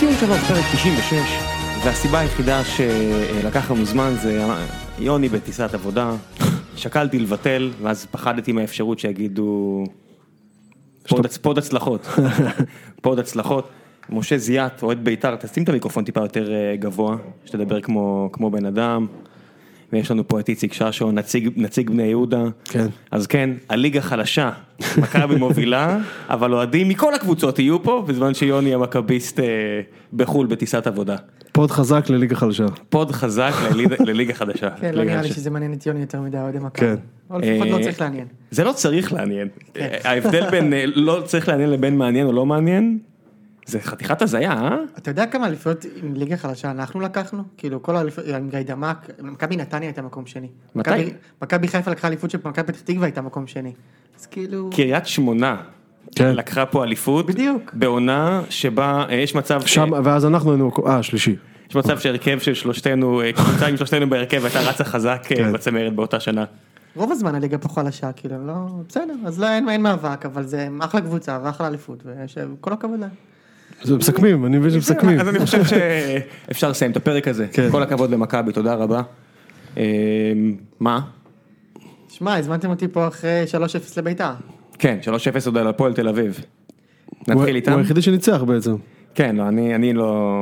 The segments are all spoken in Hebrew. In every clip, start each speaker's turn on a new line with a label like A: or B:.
A: שלו פרק 96, והסיבה היחידה שלקח לנו זמן זה יוני בטיסת עבודה, שקלתי לבטל, ואז פחדתי מהאפשרות שיגידו פוד, הצ... פוד הצלחות, פוד הצלחות. משה זיאת, אוהד בית"ר, תשים את המיקרופון טיפה יותר אה, גבוה, שתדבר כמו, כמו בן אדם. ויש לנו פה את איציק ששו, נציג, נציג בני יהודה.
B: כן.
A: אז כן, הליגה חלשה, מכבי מובילה, אבל אוהדים מכל הקבוצות יהיו פה, בזמן שיוני המכביסט אה, בחו"ל בטיסת עבודה.
B: פוד חזק לליגה חלשה.
A: פוד חזק לליד- לליגה חדשה.
C: כן, לא
A: ליגה
C: נראה לי
A: חדשה.
C: שזה מעניין את יוני יותר מדי אוהדי מכבי.
B: כן.
C: או לפחות לא
A: אה,
C: צריך לעניין. כן.
A: זה לא צריך לעניין. ההבדל בין אה, לא צריך לעניין לבין מעניין או לא מעניין, זה חתיכת הזיה, אה?
C: אתה יודע כמה אליפויות עם ליגה חלשה אנחנו לקחנו? כאילו כל האליפויות, עם גיידמק, מכבי נתניה הייתה מקום שני.
A: מתי?
C: מכבי- מכבי חיפה לקחה אליפות של מכבי פתח תקווה הייתה מקום שני. אז כאילו...
A: קריית שמונה
B: כן.
A: לקחה פה אליפות.
C: בדיוק.
A: בעונה שבה אה, יש מצב, ש-
B: שם, ואז אנחנו היינו, אה, שלישי.
A: יש מצב שהרכב של שלושתנו, אה, קבוצה עם שלושתנו בהרכב הייתה רצה חזק אה,
B: כן.
A: בצמרת באותה שנה.
C: רוב הזמן הליגה פה חלשה, כאילו, לא... בסדר, אז לא, אין, אין מאבק, אבל זה אחלה קבוצה ואחלה אליפות, וכל הכבוד להם.
B: זה מסכמים, אני מבין שמסכמים.
A: אה, אז אני חושב שאפשר לסיים את הפרק הזה.
B: כן.
A: כל הכבוד למכבי, תודה רבה. אה, מה?
C: שמע, הזמנתם אותי פה אחרי 3-0 לביתר.
A: כן, 3-0 עוד על הפועל תל אביב.
B: הוא-
A: נתחיל איתם?
B: הוא היחידי שניצח בעצם.
A: כן, לא, אני, אני לא...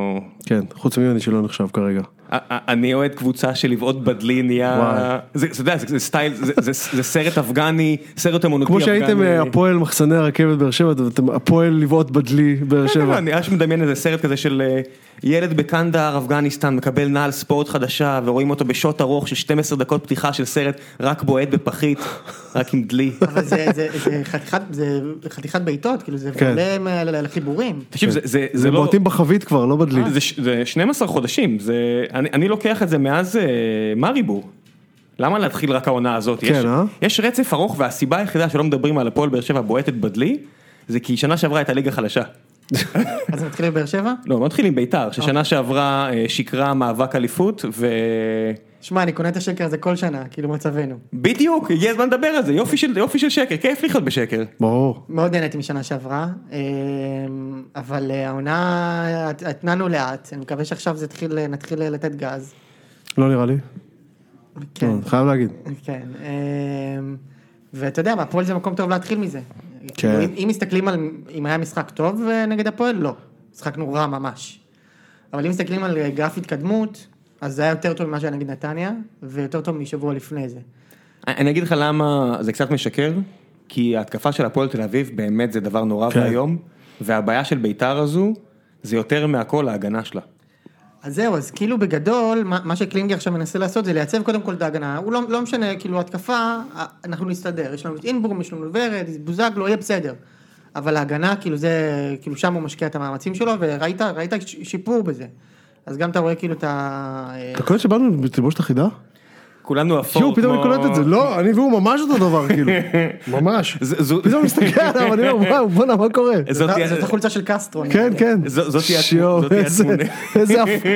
B: כן, חוץ מיוני שלא נחשב כרגע.
A: א- א- אני אוהד קבוצה שלבעוט בדלי נהיה...
B: וואי.
A: זה, אתה יודע, זה, זה סטייל, זה, זה, זה סרט אפגני, סרט אמנותי
B: כמו
A: אפגני.
B: שהייתם אה, הפועל מחסני הרכבת באר שבע, אתם הפועל לבעוט בדלי באר
A: כן,
B: שבע.
A: אני ממש מדמיין איזה סרט כזה של אה, ילד בקנדה, אפגניסטן, מקבל נעל ספורט חדשה, ורואים אותו בשעות ארוך של 12 דקות פתיחה של סרט רק בועט בפחית, רק עם דלי.
C: אבל זה, זה, זה, חתיכת, זה חתיכת בעיטות, כאילו, זה
B: כן.
C: עולה מה- לחיבורים.
A: תקשיב, זה, זה, זה,
B: זה
A: לא...
B: כן.
A: אה,
B: בועטים בחבית כבר, לא בדלי.
A: זה, ש- זה 12 חודשים, זה, אני, אני לוקח את זה מאז אה, מריבור. למה להתחיל רק העונה הזאת? יש,
B: כן, אה?
A: יש רצף ארוך והסיבה היחידה שלא מדברים על הפועל באר שבע בועטת בדלי, זה כי שנה שעברה הייתה ליגה חלשה.
C: אז נתחיל בבאר שבע?
A: לא, לא נתחיל עם בית"ר, ששנה שעברה אה, שיקרה מאבק אליפות, ובדיוק,
C: שמע, אני קונה את השקר הזה כל שנה, כאילו מצבנו.
A: הגיע הזמן לדבר על זה, יופי של, יופי של שקר, כיף לחיות בשקר.
B: ברור.
C: מאוד נהניתי משנה שעברה, אמ, אבל אה, העונה, הת- התנענו לאט, אני מקווה שעכשיו זה יתחיל, אה, נתחיל לתת גז.
B: לא נראה לי.
C: כן,
B: לא, חייב להגיד.
C: כן. אמ, ואתה יודע, בהפועל זה מקום טוב להתחיל מזה. כאילו,
B: כן.
C: אם- אם מסתכלים על אם היה משחק טוב אה, נגד הפועל, לא. משחקנו רע ממש. אבל אם מסתכלים על אה, גרף התקדמות, אז זה היה יותר טוב ממה שהיה נגד נתניה, ויותר טוב משבוע לפני זה.
A: אני- אני אגיד לך למה זה קצת משקר, כי ההתקפה של הפועל תל אביב באמת זה דבר נורא
B: כן.
A: ואיום, והבעיה של בית"ר הזו, זה יותר מהכל ההגנה שלה.
C: אז זהו, אז כאילו בגדול, מה, מה שקלינגר עכשיו מנסה לעשות זה לייצב קודם כל את ההגנה. הוא לא, לא משנה, כאילו התקפה, אנחנו נסתדר. יש לנו את אינבורם, יש לנו את ורד, בוזגלו, יהיה בסדר. אבל ההגנה, כאילו זה, כאילו שם הוא משקיע את המאמצים שלו, וראית ראית ש- שיפור בזה. אז גם אתה רואה כאילו את ה...
B: אתה קולט שבאנו בתלבושת אחידה?
A: כולנו אפור
B: יואו, פתאום אני קולט את זה. לא, אני והוא ממש אותו דבר, כאילו. ממש.
A: ז- זו-
B: פתאום מסתכל עליו, אני אומר, וואו, בואנה, מה קורה?
A: זאת
C: זאת-
A: תהיה-
C: לא, זאת החולצה של קסטרו.
B: כן, כן.
A: ז- זאת תהיה התמונה-
B: יואו,
A: זאת תהיה
B: איזה-
A: התמונה.
B: איזה אפ-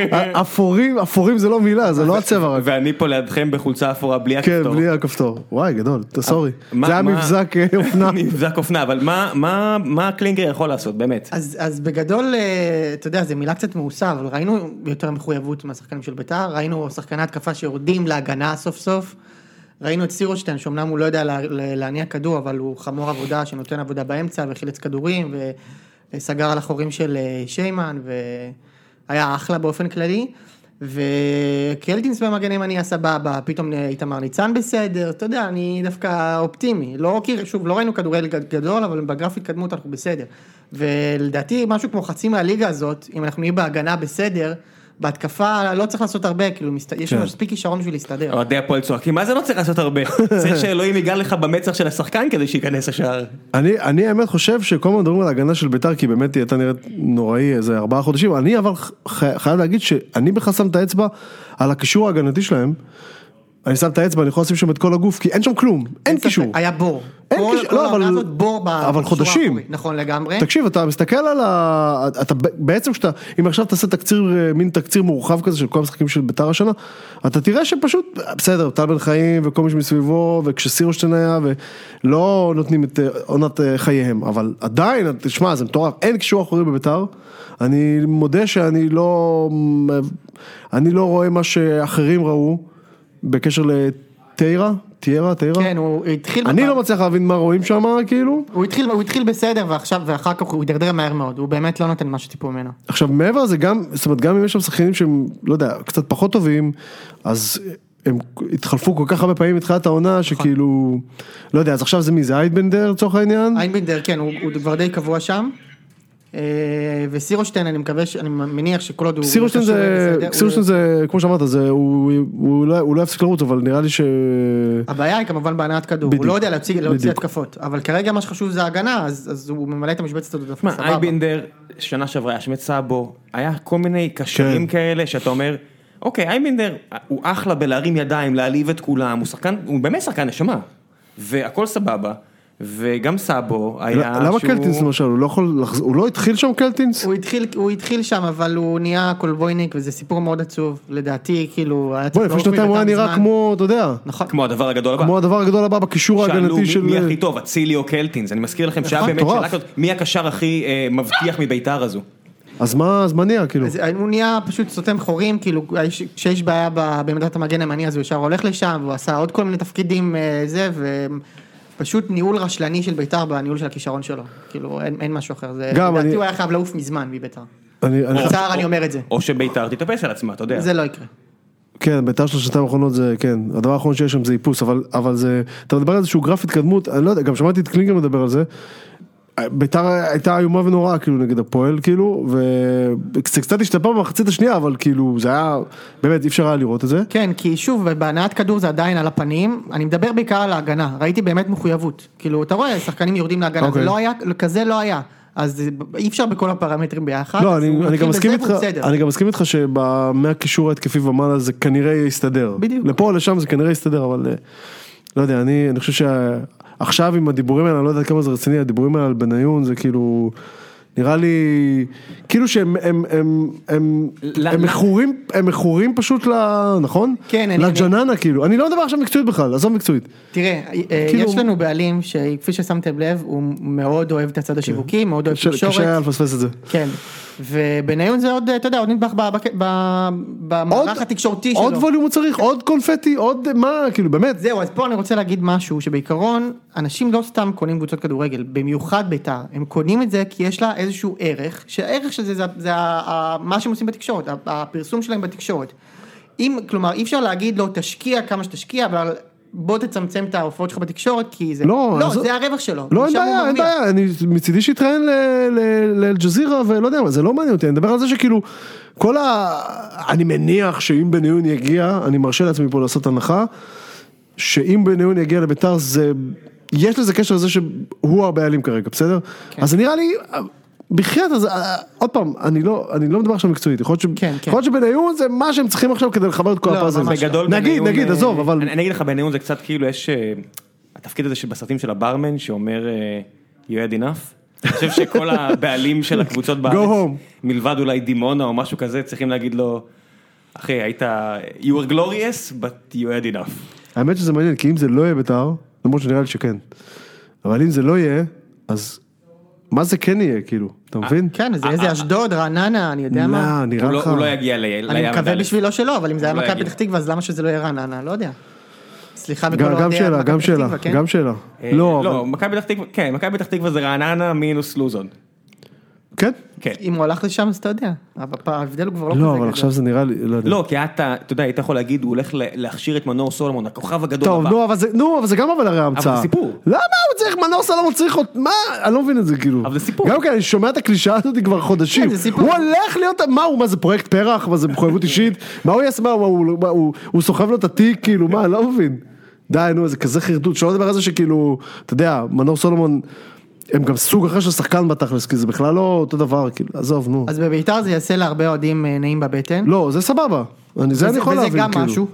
B: אפורים, אפורים זה לא מילה, זה לא הצבע רק.
A: ואני פה לידכם בחולצה אפורה בלי
B: כן,
A: הכפתור.
B: בלי הכפתור. וואי, גדול, אתה סורי.
A: מה-
B: זה היה
A: מה-
B: מבזק אה, אופנה.
A: מבזק אופנה, אבל מה- מה- מה קלינגר יכול לעשות, באמת?
C: אז, אז בגדול, אה, אתה יודע, זו מילה קצת מעושה, אבל ראינו יותר מחויבות מהשחקנים של ביתר, ראינו שחקני התקפה שיורדים להגנה סוף סוף, ראינו את סירושטיין, שאומנם הוא לא יודע לה, לה- להניע כדור, אבל הוא חמור עבודה שנותן עבודה באמצע, וחילץ כדורים, וסגר על החורים של אה, שיימן, והיה אחלה באופן כללי. וקלטינס במגן ימני היה סבבה, פתאום איתמר ניצן בסדר, אתה יודע, אני דווקא אופטימי. לא, כי שוב, לא ראינו כדורגל גד- גדול, אבל בגרף התקדמות אנחנו בסדר. ולדעתי, משהו כמו חצי מהליגה הזאת, אם אנחנו נהיה בהגנה בסדר, בהתקפה לא צריך לעשות הרבה, כאילו, מסת... יש
B: כן.
C: לנו מספיק כישרון בשביל להסתדר.
A: אוהדי הפועל צועקים, מה זה לא צריך לעשות הרבה? צריך שאלוהים ייגע לך במצח של השחקן כדי שייכנס השער.
B: אני, אני האמת חושב שכל הזמן מדברים על ההגנה של ביתר, כי באמת היא הייתה נראית נוראי איזה ארבעה חודשים, אני אבל ח- חייב להגיד שאני בכלל שם את האצבע על הקישור ההגנתי שלהם, אני שם את האצבע, אני יכול לשים שם את כל הגוף, כי אין שם כלום, אין
C: ספק,
B: קישור.
C: היה בור.
B: אין
C: כל-
B: קישור,
C: כל
B: לא,
C: העונה
B: אבל-
C: הזאת בור
B: אבל
C: בשורה
B: חודשים.
C: האחורית. נכון לגמרי.
B: תקשיב, אתה מסתכל על ה... אתה ב- בעצם שאתה, אם עכשיו תעשה תקציר, אה, מין תקציר מורחב כזה של כל המשחקים של ביתר השנה, אתה תראה שפשוט, אה, בסדר, טל בן חיים וכל מי שמסביבו, וכשסירושטיין היה, ולא נותנים את אה, עונת אה, חייהם, אבל עדיין, אה, תשמע, זה מטורף, אין קישור אחורי בביתר, אני מודה שאני לא... אני לא רואה מה שאחרים ראו בקשר לטיירה, טיירה, טיירה.
C: כן, הוא התחיל...
B: אני
C: בפעם-
B: לא מצליח להבין מה רואים שם, כאילו.
C: הוא התחיל, הוא התחיל בסדר ועכשיו ואחר כך הוא הידרדר מהר מאוד, הוא באמת לא נותן מה שציפו ממנו.
B: עכשיו מעבר לזה גם, זאת אומרת גם אם יש שם שחקנים שהם, לא יודע, קצת פחות טובים, אז הם התחלפו כל כך הרבה פעמים מתחילת העונה, שכאילו, לא יודע, אז עכשיו זה מי זה איידבנדר לצורך העניין?
C: איינבינדר כן, הוא, הוא כבר די קבוע שם. אה, וסירושטיין אני מקווה, ש- אני מניח שכל עוד הוא...
B: סירושטיין
C: כשיר
B: זה,
C: בסדר, הוא-
B: סירושטיין זה, כמו שאמרת, זה, הוא, הוא, לא, הוא לא יפסיק לרוץ, אבל נראה לי ש...
C: הבעיה היא כמובן בהנעת כדור,
B: בדיוק.
C: הוא לא יודע להוציא, להוציא
B: בדיוק.
C: התקפות, אבל כרגע מה שחשוב זה ההגנה, אז, אז הוא ממלא את המשבצת הזאת דווקא
A: מה,
C: סבבה.
A: אייבינדר, שנה שעברה היה שם את סאבו, היה כל מיני קשרים
B: כן.
A: כאלה שאתה אומר, אוקיי, אייבינדר הוא אחלה בלהרים ידיים, להעליב את כולם, הוא שחקן, הוא באמת שחקן נשמה, והכל סבבה, וגם סאבו היה
B: למה קלטינס למשל, הוא לא יכול לחזור, הוא לא התחיל שם קלטינס?
C: הוא התחיל, הוא התחיל שם אבל הוא נהיה קולבויניק וזה סיפור מאוד עצוב, לדעתי כאילו היה
B: בוא,
C: לעוף
B: לפני שנתיים הוא היה
C: מביתם
B: נראה
C: מזמן.
B: כמו, אתה יודע,
C: נכון,
A: כמו הדבר הגדול הבא.
B: כמו הדבר הגדול הבא בקישור
A: שאלו
B: ההגנתי
A: מי,
B: של...
A: מי הכי טוב, אצילי או קלטינס, אני מזכיר לכם שהיה
B: נכון,
A: באמת
B: מטורף.
A: שאלה כזאת, מי הקשר הכי אה, מבטיח מביתר הזו?
B: אז מה, אז מה נהיה, כאילו?
C: אז הוא נהיה פשוט סותם חורים, כאילו האיש- כשיש בעיה ב- בעמדת המגן הימני אז הוא ישר הולך לשם, והוא עשה עוד כל מיני תפקידים אה, זה, ופשוט ניהול רשלני של בית"ר בניהול של הכישרון שלו, כאילו אין, אין משהו אחר, זה,
B: גם
C: לדעתי
B: אני-
C: הוא היה חייב לעוף מזמן מבית"ר,
B: אני- אני-
C: בצער אני אומר את זה,
A: או שביתר תתאפס על עצמה, אתה יודע.
C: זה לא יקרה.
B: כן, ביתר של השנתיים האחרונות זה, כן, הדבר האחרון שיש שם זה איפוס, אבל, אבל זה, אתה מדבר על איזשהו גרף התקדמות, אני לא יודע, גם שמעתי את קלינגר מדבר על זה. ביתר הייתה איומה ונוראה כאילו נגד הפועל כאילו וזה קצת השתפר במחצית השנייה אבל כאילו זה היה באמת אי אפשר היה לראות את זה.
C: כן, כי שוב, בהנעת כדור זה עדיין על הפנים, אני מדבר בעיקר על ההגנה, ראיתי באמת מחויבות, כאילו, אתה רואה, שחקנים יורדים להגנה, זה
B: אוקיי.
C: לא היה, כזה לא היה, אז זה- אי אפשר בכל הפרמטרים ביחד,
B: לא
C: אז
B: אני-
C: הוא
B: אני
C: מתחיל
B: גם מסכים
C: בזה
B: איתך
C: והוא בסדר.
B: אני גם מסכים איתך שמהקישור ההתקפי ומעלה זה כנראה יסתדר.
C: בדיוק.
B: לפה או לשם זה כנראה יסתדר אבל אה, לא יודע אני אני חושב שעכשיו עם הדיבורים האלה אני לא יודע כמה זה רציני הדיבורים האלה על בניון זה כאילו. נראה לי כאילו שהם הם הם הם
A: ל-
B: הם
A: ל-
B: מכורים הם מכורים פשוט ל... נכון?
C: כן, אני-
B: לג'ננה כאילו אני לא מדבר עכשיו מקצועית בכלל עזוב מקצועית.
C: תראה, אה,
B: כאילו-
C: יש לנו בעלים שכפי ששמתם לב, הוא מאוד אוהב את הצד השיווקי, מאוד אוהב
B: כן. קשה- קשה היה
C: תקשורת.
B: לפספס את זה.
C: כן, ובניון זה עוד, אה, אתה יודע, עוד נדבך ב- בק- ב-
B: עוד-
C: במערך התקשורתי
B: עוד
C: שלו. כן.
B: ווליום הוא צריך עוד קונפטי עוד מה כאילו באמת.
C: זהו, אז פה אני רוצה להגיד משהו שבעיקרון, אנשים לא סתם קונים קבוצות כדורגל, במיוחד בית"ר, הם קונים את זה כי יש לה איזשהו ערך, שהערך של זה זה, זה ה- ה- מה שהם עושים בתקשורת, ה- הפרסום שלהם בתקשורת. אם, כלומר, אי אפשר להגיד לו תשקיע כמה שתשקיע, אבל בוא תצמצם את ההופעות שלך בתקשורת, כי זה...
B: לא,
C: לא
B: אז-
C: זה הרווח שלו.
B: לא, אין
C: משם הוא
B: בעיה, אין
C: מרוויח.
B: בעיה, אני מצידי שיתראיין ל- ל- לאלג'זירה ולא יודע מה, זה לא מעניין אותי, אני מדבר על זה שכאילו, כל ה... אני מניח שאם בניון יגיע, אני מרשה לעצמי פה לעשות הנחה, שאם בניון יגיע לביתר זה, יש לזה קשר לזה שהוא הבעלים כרגע, בסדר?
C: כן.
B: אז זה נראה לי, בחייאת, אז אה, עוד פעם, אני לא, אני לא מדבר עכשיו מקצועית, יכול להיות ש-
C: כן, כן.
B: יכול להיות שבניון זה מה שהם צריכים עכשיו כדי לחבר את כל
C: לא,
B: הפאזל.
C: ממש
A: בגדול
B: נגיד,
A: בניון,
B: נגיד,
A: אה,
B: עזוב, אבל...
A: אני, אני אגיד לך, בניון זה קצת כאילו יש... אה, התפקיד הזה שבסרטים של הברמן שאומר אה, you had enough. אני חושב שכל הבעלים של הקבוצות בארץ,
B: home.
A: מלבד אולי דימונה או משהו כזה, צריכים להגיד לו, אחי, היית, you were glorious, but you had enough.
B: האמת שזה מעניין, כי אם זה לא יהיה בית"ר, למרות שנראה לי שכן, אבל אם זה לא יהיה, אז מה זה כן יהיה, כאילו, אתה מבין?
C: כן, אז זה איזה אשדוד, רעננה, אני יודע מה.
B: לא, נראה
A: הוא לא,
B: לך...
A: הוא לא יגיע ל- לים
C: אני מקווה
A: עד א'.
C: בשבילו שלא, אבל אם זה היה
A: לא
C: מכבי
A: יגיע.
C: פתח תקווה, אז למה שזה לא יהיה רעננה? לא יודע. סליחה, בכל
B: גם- גם
C: אוהדי
B: שאלה,
C: מכבי
B: גם
C: פתח
B: שאלה,
C: תקווה, כן?
B: גם שאלה.
A: אה,
B: לא,
A: לא,
B: אבל-
A: מכבי פתח תקווה, כן, מכבי פתח תקווה זה רעננה מינוס לוזון.
B: כן?
A: כן.
C: אם הוא הלך לשם, אז אתה יודע. אבל פה ההבדל הוא כבר לא כזה
B: לא,
C: גדול.
B: אבל עכשיו זה נראה לי, לא יודע.
A: לא, כי אתה, אתה יודע, היית יכול להגיד, הוא הולך ל- להכשיר את מנור סולומון, הכוכב הגדול
B: טוב,
A: הבא.
B: נו, אבל זה, נו, אבל זה גם אבל הרי המצאה.
A: זה סיפור.
B: למה הוא צריך, מנור סלומון צריך עוד, מה? אני לא מבין את זה, כאילו.
A: אבל זה סיפור.
B: גם כן, אני שומע את הקלישאה הזאת כבר חודשים.
C: כן, זה סיפור.
B: הוא הולך להיות, מה הוא, מה זה פרויקט פרח? מה זה מחויבות אישית? מה הוא יעשה, מה הוא- הוא, מה הוא, הוא סוחב לו את התיק, כאילו, מה, אני לא מבין. די, נו, זה כזה חרטוט, שלא לדבר על זה שכאילו, אתה יודע, מנור סולומון, הם גם סוג אחר של שחקן בתכלס, כי זה בכלל לא אותו דבר, כאילו, עזוב, נו.
C: אז בביתר זה יעשה להרבה אוהדים אה, נעים בבטן.
B: לא, זה סבבה. אני, זה אני
C: וזה-
B: יכול להבין,
C: וזה גם
B: כאילו.
C: משהו.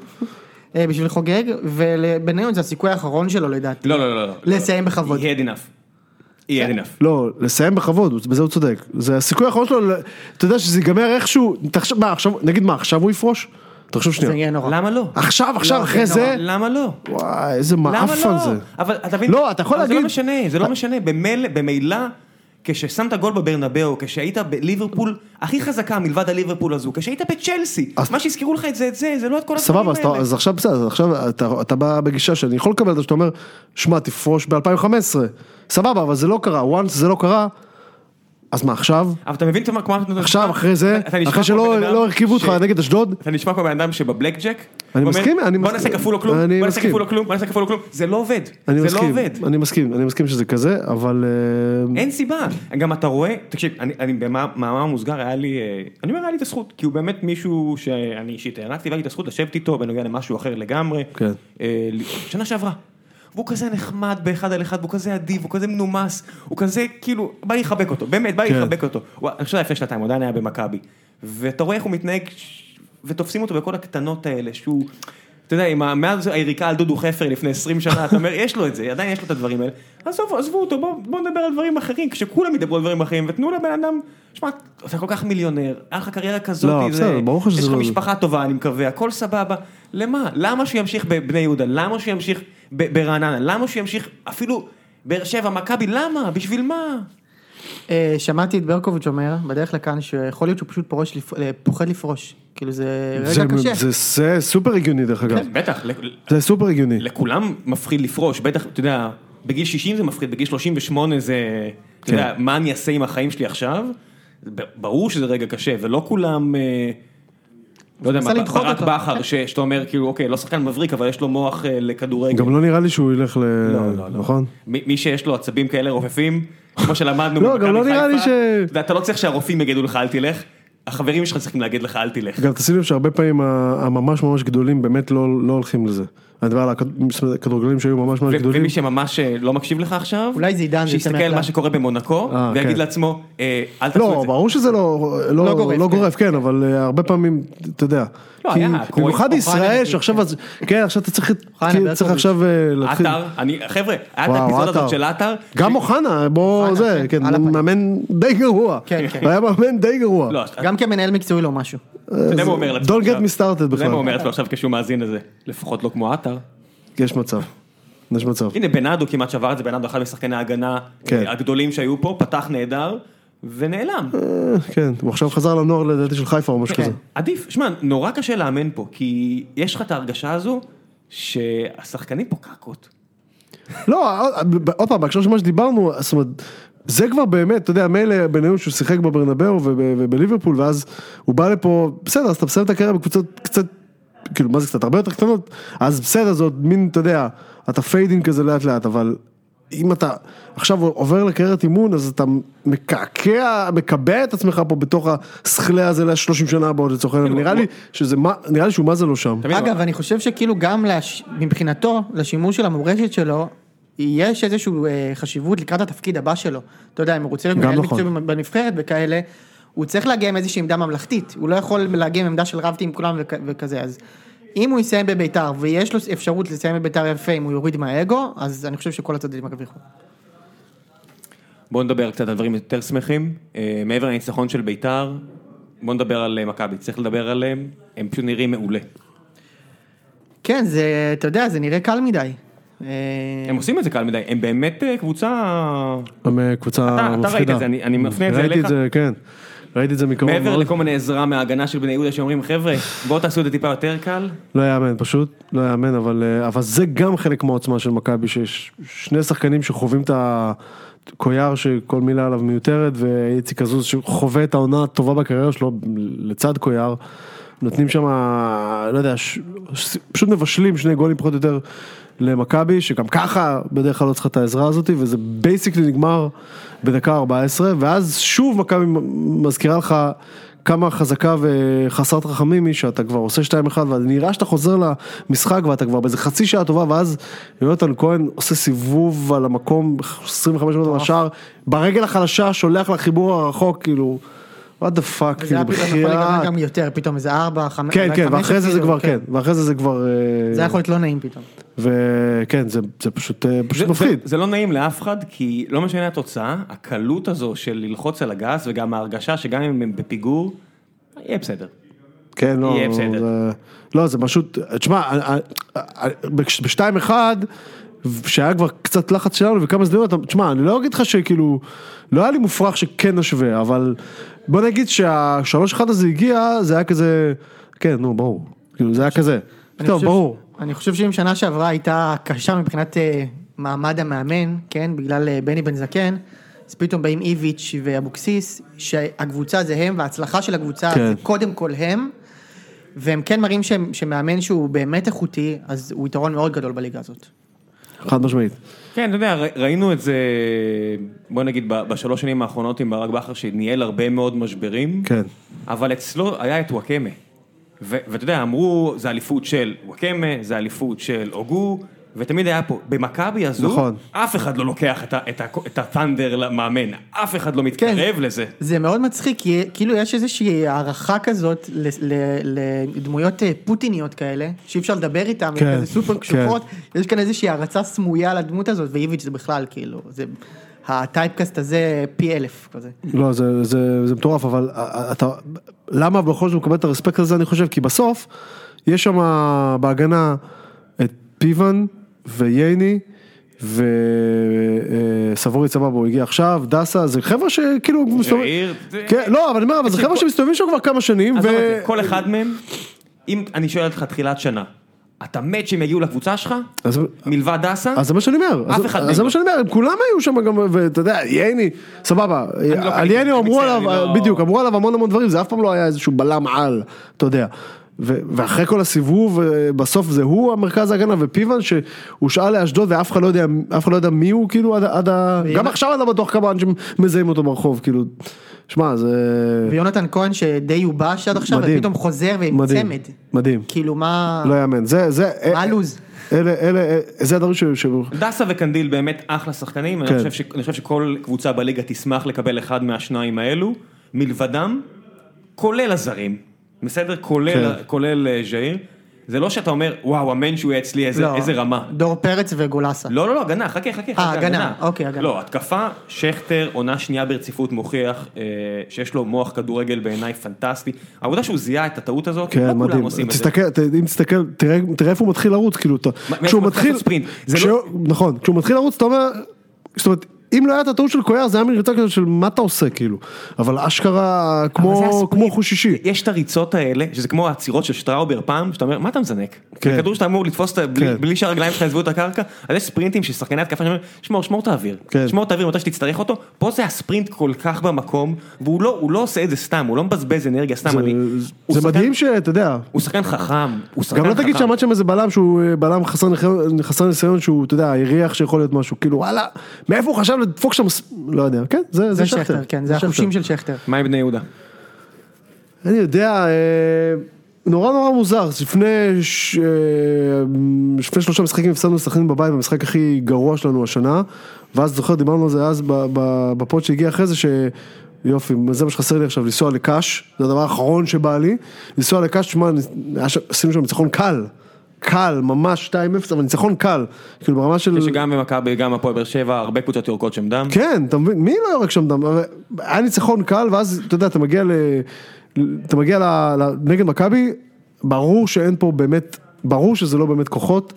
C: אה, בשביל חוגג, ובניון זה הסיכוי האחרון שלו לדעתי.
A: לא, לא, לא, לא.
C: לסיים בכבוד.
A: He had enough. He had enough.
B: לא, לסיים בכבוד, הוא- בזה הוא צודק. זה הסיכוי האחרון שלו, ל- אתה יודע שזה ייגמר איכשהו, תחשוב, מה עכשיו, נגיד מה, עכשיו הוא יפרוש? תחשוב
C: זה
B: שנייה.
C: יהיה נורא.
A: למה לא?
B: עכשיו, עכשיו,
C: לא,
B: אחרי
C: זה
B: זה,
A: למה לא?
B: וואי, איזה
A: למה
B: מעפן
A: לא?
B: זה.
A: אבל אתה מבין,
B: לא, אתה יכול
A: אבל זה
B: להגיד-
A: לא משנה, זה לא משנה, במילא, במילא, כששמת גול בברנבאו, כשהיית בליברפול הכי חזקה מלבד הליברפול הזו, כשהיית בצ'לסי,
B: אז-
A: מה שיזכרו לך את זה, את זה, זה לא את כל הדברים
B: סבבה, אז, אתה,
A: האלה.
B: אז עכשיו בסדר, אז עכשיו אתה, אתה בא בגישה שאני יכול לקבל את זה שאתה אומר, שמע, תפרוש ב-2015, סבבה, אבל זה לא קרה, once זה לא קרה, אז מה עכשיו?
A: אבל אתה מבין כמו...
B: עכשיו, אחרי זה,
A: אתה נשמע
B: אחרי
A: כמו
B: שלא
A: בן אדם
B: לא הרכיבו אותך
A: ש-
B: נגד אשדוד,
A: אתה נשמע כמו בן אדם שבבלק ג'ק,
B: אני
A: הוא אומר,
B: מסכים, אני
A: בוא
B: מסכים.
A: נעשה כפול או כלום,
B: אני
A: בוא נעשה
B: מסכים.
A: כפול או כלום, בוא נעשה כפול או כלום, זה לא עובד,
B: אני
A: זה לא
B: מסכים,
A: עובד.
B: אני מסכים, אני מסכים שזה כזה, אבל אה,
A: אין סיבה, גם אתה רואה, תקשיב, אני, אני במאמר מוסגר היה לי, אה, אני אומר היה לי את הזכות, כי הוא באמת מישהו שאני אישית הענקתי והיה לי את הזכות לשבת איתו בנוגע למשהו אחר לגמרי,
B: כן.
A: אה, ל- שנה שעברה. והוא כזה נחמד באחד על אחד, והוא כזה אדיב, הוא כזה מנומס, הוא כזה כאילו, בא לי לחבק אותו, באמת, בא לי
B: כן.
A: לחבק אותו. הוא- אני חושב שזה היה לפני שנתיים, הוא עדיין היה במכבי. ואתה רואה איך הוא מתנהג, ש- ותופסים אותו בכל הקטנות האלה, שהוא, אתה יודע, עם ה- מאז היריקה על דודו חפר לפני 20 שנה, אתה אומר, יש לו את זה, עדיין יש לו את הדברים האלה. עזוב, עזבו אותו, בואו בוא נדבר על דברים אחרים, כשכולם ידברו על דברים אחרים, ותנו לבן אדם, שמע, אתה כל כך מיליונר, היה לך קריירה כזאת,
B: לא,
A: זה-
B: בסדר, ברור לך שזה
A: יש לך
B: לא זה.
A: משפחה. משפחה טובה, אני מקווה, הכל סבבה. למה? למה שהוא ימשיך בבני יהודה? למה שהוא ימשיך ב- ברעננה? למה שהוא ימשיך אפילו באר שבע, מכבי? למה? בשביל מה?
C: אה, שמעתי את ברקוביץ' אומר, בדרך לכאן, שיכול להיות שהוא פשוט פורש לפ- אה, פוחד לפרוש. כאילו זה
B: זה-
C: רגע קשה. כן.
B: זה- זה סופר הגיוני דרך אגב,
A: בטח, ל-
B: זה סופר הגיוני.
A: לכולם מפחיד לפרוש, בטח, אתה יודע, בגיל 60 זה מפחיד, בגיל 38 זה, אתה יודע,
B: כן.
A: מה אני אעשה עם החיים שלי עכשיו? ב- ברור שזה רגע קשה, ולא כולם, אה, לא יודע,
C: מנסה
A: מה,
C: לדחוק
A: ברק
C: אותו.
A: בכר, ש- שאתה אומר, כאילו, אוקיי, לא שחקן מבריק, אבל יש לו מוח אה, לכדורגל.
B: גם לא נראה לי שהוא ילך ל...
A: לא, לא, לא.
B: נכון?
A: מי מי שיש לו עצבים כאלה רופפים, כמו שלמדנו
B: לא, גם לא
A: במכבי
B: נראה לי
A: חיפה,
B: ש-
A: אתה יודע, אתה לא צריך שהרופאים יגידו לך אל תלך, החברים שלך צריכים להגיד לך אל תלך.
B: גם תשים לב שהרבה פעמים ה- הממש ממש גדולים באמת לא לא הולכים לזה. אני מדבר על הכדורגלנים שהיו ממש ממש
A: ו-
B: גדולים.
A: ומי שממש אה, לא מקשיב לך עכשיו,
C: אולי זה עידן, זה
A: שיסתכל
C: יצא
A: על מה
C: מהכלל.
A: שקורה במונקו,
B: אה,
A: ויגיד
B: כן.
A: לעצמו, אה, אל תעשו את
B: לא,
A: זה.
B: ברור שזה לא,
C: לא
B: לא,
C: גורף,
B: לא
C: כן.
B: גורף, כן, אבל אה, הרבה פעמים, אתה יודע.
A: לא,
B: כי
A: היה,
B: במיוחד
A: קרויף,
B: ישראל,
C: אוחנה,
B: שעכשיו, אז- כן, עכשיו אתה צריך,
C: אוחנה,
B: כאילו,
C: ברקוביץ'.
B: צריך עכשיו אה, להתחיל.
A: עטר, אני, חבר'ה, היה את
B: וואו,
A: האפיזודה
B: עטר.
A: הזאת של עטר,
B: גם אוחנה, בוא,
C: אוחנה,
B: זה,
C: כן,
B: כן,
C: על הפנים.
B: מאמן די גרוע.
C: כן, כן.
B: הוא היה מאמן די גרוע.
A: לא, אתה
C: גם כמנהל מקצועי לא משהו.
A: יודע מה הוא אומר לעצמו
B: אה, Don't get
A: עכשיו?
B: me started
A: אתה יודע מה הוא
B: בכלל.
A: אומר לעצמו עכשיו כשהוא מאזין לזה, לפחות לא כמו עטר.
B: יש מצב, יש מצב.
A: הנה בנאדו כמעט שבר את זה, בנאדו אחד משחקני ההגנה
B: כן.
A: אה, הגדולים שהיו פה, פתח נהדר, ונעלם.
B: אה, כן, הוא עכשיו חזר לנוער לדעתי של חיפה או משהו
C: כן.
B: כזה.
A: עדיף, שמע, נורא קשה לאמן פה, כי יש לך את ההרגשה הזו שהשחקנים פה קקות.
B: לא, עוד פעם, בהקשר של מה שדיברנו, זאת אומרת, זה כבר באמת, אתה יודע, מילא בניון שהוא שיחק בברנבאו וב- ובליברפול, ואז הוא בא לפה, בסדר, אז אתה מסיים את הקריירה בקבוצות קצת, כאילו, מה זה קצת, הרבה יותר קטנות, אז בסדר, זה עוד מין, אתה יודע, אתה פיידין כזה לאט לאט, אבל אם אתה עכשיו עובר לקריירת אימון, אז אתה מקעקע, מקבע את עצמך פה בתוך הסכלה הזה ל-30 שנה הבאות לצורך העניין, נראה לי שזה, מה- נראה לי שהוא מה זה לא שם.
A: אתה מבין?
C: אגב, אני חושב שכאילו גם לש- מבחינתו, לשימוש של המורשת שלו, יש איזושהי חשיבות לקראת התפקיד הבא שלו. אתה יודע, אם הוא רוצה להיות
B: גם
C: מנהל
B: נכון.
C: מקצועי בנבחרת וכאלה, הוא צריך להגיע עם איזושהי עמדה ממלכתית. הוא לא יכול להגיע עם עמדה של רבתי עם כולם וכ- וכזה, אז... אם הוא יסיים בביתר, ויש לו אפשרות לסיים בביתר יפה, אם הוא יוריד מהאגו, אז אני חושב שכל הצדדים ירוויחו.
A: בואו נדבר קצת על דברים יותר שמחים. אה, מעבר לניצחון של בית"ר, בואו נדבר על אה, מכבי. צריך לדבר עליהם, הם פשוט נראים מעולה.
C: כן, זה, אתה יודע, זה נראה קל מדי. אה,
A: הם עושים את זה קל מדי, הם באמת אה, קבוצה...
B: הם אה, קבוצה
A: אתה- אתה
B: מפחידה.
A: ראית את זה, אני- אני מפנה את זה
B: ראיתי
A: אליך.
B: את זה, כן. ראיתי את זה מקרוב
A: מעבר
B: מאוד.
A: לכל מיני עזרה מההגנה של בני יהודה שאומרים, חבר'ה, בואו תעשו את זה טיפה יותר קל.
B: לא יאמן פשוט, לא יאמן, אבל, אה, אבל זה גם חלק מהעוצמה של מכבי, שיש שני שחקנים שחווים את ה... קויאר שכל מילה עליו מיותרת, ואיציק עזוז שחווה את העונה הטובה בקריירה שלו לצד קויאר. נותנים שם, לא יודע, ש... ש... פשוט מבשלים שני גולים פחות או יותר למכבי, שגם ככה בדרך כלל לא צריכה את העזרה הזאת, וזה בייסיקלי נגמר בדקה 14, ואז שוב מכבי מזכירה לך כמה חזקה וחסרת רחמים היא שאתה כבר עושה 2-1 ונראה שאתה חוזר למשחק ואתה כבר באיזה חצי שעה טובה ואז יונתן כהן עושה סיבוב על המקום 25 מטר מהשער ברגל החלשה שולח לחיבור הרחוק כאילו וואט דה פאק,
C: וזה
B: כאילו
C: היה פתאום יכול להיגמר
B: בחייאת.
C: גם יותר, פתאום איזה ארבע, חמש,
B: כן,
C: אולי
B: כן,
C: חמש
B: ואחרי זה זה
C: אפילו,
B: כבר, כן, ואחרי זה זה כבר... אה,
C: זה היה יכול להיות לא נעים פתאום.
B: וכן, זה זה פשוט אה, פשוט
A: זה,
B: מפחיד.
A: זה, זה לא נעים לאף אחד, כי לא משנה התוצאה, הקלות הזו של ללחוץ על הגז, וגם ההרגשה שגם אם הם בפיגור, יהיה בסדר.
B: כן, לא,
A: יהיה בסדר.
B: זה- לא, זה פשוט, תשמע, אה, בשתיים אחד, שהיה כבר קצת לחץ שלנו וכמה זדמנויות, אתה- תשמע, אני לא אגיד לך שכאילו, לא היה לי מופרך שכן נשווה, אבל בוא נגיד שהשלוש אחד הזה הגיע, זה היה כזה, כן, נו, ברור, כאילו, זה היה כזה,
C: אני
B: טוב,
C: חושב-
B: ברור,
C: אני חושב שאם שנה שעברה הייתה קשה מבחינת אה, מעמד המאמן, כן, בגלל אה, בני בן זקן, אז פתאום באים איביץ' ואבוקסיס, שהקבוצה זה הם, וההצלחה של הקבוצה
B: כן.
C: זה קודם כל הם, והם כן מראים שהם- שמאמן שהוא באמת איכותי, אז הוא יתרון מאוד גדול בליגה הזאת.
B: חד משמעית,
A: כן, אתה יודע, ר- ראינו את זה, בוא נגיד, ב- בשלוש שנים האחרונות עם ברק בכר, שניהל הרבה מאוד משברים.
B: כן.
A: אבל אצלו היה את וואקמה. ו- ואתה יודע, אמרו, זה אליפות של וואקמה, זה אליפות של אוגו, ותמיד היה פה, במכבי הזו,
B: נכון.
A: אף אחד לא לוקח את, ה- את, ה- את הטנדר למאמן, אף אחד
B: כן.
A: לא מתקרב לזה.
C: זה מאוד מצחיק, כי כאילו יש איזושהי הערכה כזאת ל- ל- לדמויות אה, פוטיניות כאלה, שאי אפשר לדבר איתן,
B: כן,
C: כן, כזה סופר
B: כן.
C: קשוחות, יש כאן איזושהי הערצה סמויה לדמות הזאת, ואיביץ' זה בכלל, כאילו, זה, הטייפקאסט הזה פי אלף כזה.
B: לא, זה, זה, זה מטורף, אבל אה, אתה, למה בכל זאת הוא מקבל את הרספקט הזה, אני חושב, כי בסוף, יש שם בהגנה את פיוון וייני. וסבורי סבבה הוא הגיע עכשיו, דסה, זה חבר'ה שכאילו, מסתובב-
A: יאיר, זה-
B: כן, לא אבל אני אומר, אבל זה חבר'ה שמסתובבים שם כבר כמה שנים,
A: עזוב את
B: ו-
A: זה, כל אחד מהם, אם אני שואל אותך תחילת שנה, אתה מת שהם יגיעו לקבוצה שלך?
B: אז-
A: מלבד דסה?
B: אז זה מה שאני אומר,
A: אף
B: אז-
A: אחד
B: אז זה
A: מהם
B: מה
A: לא.
B: שאני אומר, הם כולם היו שם גם, ואתה יודע, ייני, סבבה,
A: לא
B: על
A: קניתי,
B: ייני
A: אני
B: אמרו
A: מצטער,
B: עליו,
A: אני לא-
B: בדיוק, אמרו עליו המון המון דברים, זה אף פעם לא היה איזשהו בלם על, אתה יודע. ו- ואחרי כל הסיבוב, אה, בסוף זה הוא המרכז ההגנה, ופיוון שהושאל לאשדוד ואף אחד לא יודע, אף אחד לא יודע מי הוא, כאילו, עד, ה- עד ה... גם עכשיו אני לא בטוח כמה אנשים מזהים אותו ברחוב, כאילו, שמע, זה...
C: ויונתן כהן שדי יובש עד עכשיו,
B: מדהים.
C: ופתאום חוזר ועם
B: מדהים,
C: צמד.
B: מדהים,
C: כאילו מה,
B: לא יאמן, זה, זה,
C: מה הלו"ז?
B: אלה, אלה, אלה, זה הדברים ש... ש-
A: דסה וקנדיל באמת אחלה שחקנים,
B: כן.
A: אני, חושב ש... אני חושב שכל קבוצה בליגה תשמח לקבל אחד מהשניים האלו, מלבדם, כולל הזרים, בסדר? כולל,
B: כן.
A: כולל אה, ז'איר, זה לא שאתה אומר, וואו, המן שהוא יהיה אצלי, איזה,
C: לא,
A: איזה רמה.
C: דור פרץ וגולסה.
A: לא, לא, לא, הגנה, חכה, חכה, חכה,
C: הגנה, אוקיי, הגנה.
A: לא, התקפה, שכטר, עונה שנייה ברציפות מוכיח אה, שיש לו מוח כדורגל בעיניי פנטסטי. העובדה שהוא זיהה את הטעות הזאת, לא
B: כן,
A: כולם
B: מדהים.
A: עושים את זה.
B: תסתכל, ת- אם תסתכל, תראה- תראה איפה הוא מתחיל לרוץ, כאילו, אתה-
A: מאיפה
B: כשהוא
A: הוא מתחיל
B: מתחיל,
A: לעשות ספרינט? זה
B: כשהוא-
A: לא-
B: נכון, כשהוא מתחיל לרוץ, אתה אומר, זאת אומרת, אם לא היה את הטעות של קויאר, זה היה מין יותר כזה של מה אתה עושה, כאילו, אבל אשכרה,
A: אבל זה
B: כמו
A: הספרינט.
B: כמו חוש אישי.
A: יש את הריצות האלה, שזה כמו העצירות של שטראובר פעם, שאתה אומר, מה אתה מזנק?
B: כן.
A: זה כדור שאתה אמור לתפוס, את ה- בלי-
B: כן.
A: בלי שהרגליים שלך יעזבו את הקרקע, אז יש ספרינטים של שחקני התקפה שאומרים, שמור, שמור את האוויר,
B: כן.
A: שמור את האוויר מתי שתצטרך אותו, פה זה הספרינט כל כך במקום, והוא לא, הוא לא עושה את זה סתם, הוא לא מבזבז אנרגיה סתם, אני... הוא
B: זה
A: שחקן-
B: מדהים שאתה יודע,
A: הוא שחקן חכם, הוא שחקן
B: גם
A: חכם.
B: לא תגיד שעמד שם איזה בלם שהוא אה, בלם חסר ניחיון- חסר ניסיון שהוא, אתה יודע, הריח שיכול להיות משהו, כאילו, וואלה, מאיפה הוא חשב לדפוק שם, ס- לא יודע, כן, זה
C: זה
B: זה שכטר.
C: שכטר, כן, זה
B: שכטר.
C: החושים של שכטר.
A: מה עם בני יהודה?
B: אני יודע, אה, נורא נורא מוזר, לפני, ש... אה, לפני שלושה משחקים הפסדנו לסכנין בבית במשחק הכי גרוע שלנו השנה, ואז זוכר, דיברנו על זה אז ב- ב- בפוד שהגיע אחרי זה, ש... יופי, זה מה שחסר לי עכשיו, לנסוע לקאש, זה הדבר האחרון שבא לי, לנסוע לקאש, תשמע, היה ש- עשינו שם ניצחון קל, קל, ממש 2-0, אבל ניצחון קל, כאילו ברמה של...
A: שגם במכבי, גם הפועל באר שבע, הרבה קבוצות יורקות שם דם.
B: כן, אתה מבין, מי לא יורק שם דם? הרי היה ניצחון קל, ואז אתה יודע, אתה מגיע ל... אתה מגיע ל... ל... נגד מכבי, ברור שאין פה באמת, ברור שזה לא באמת כוחות.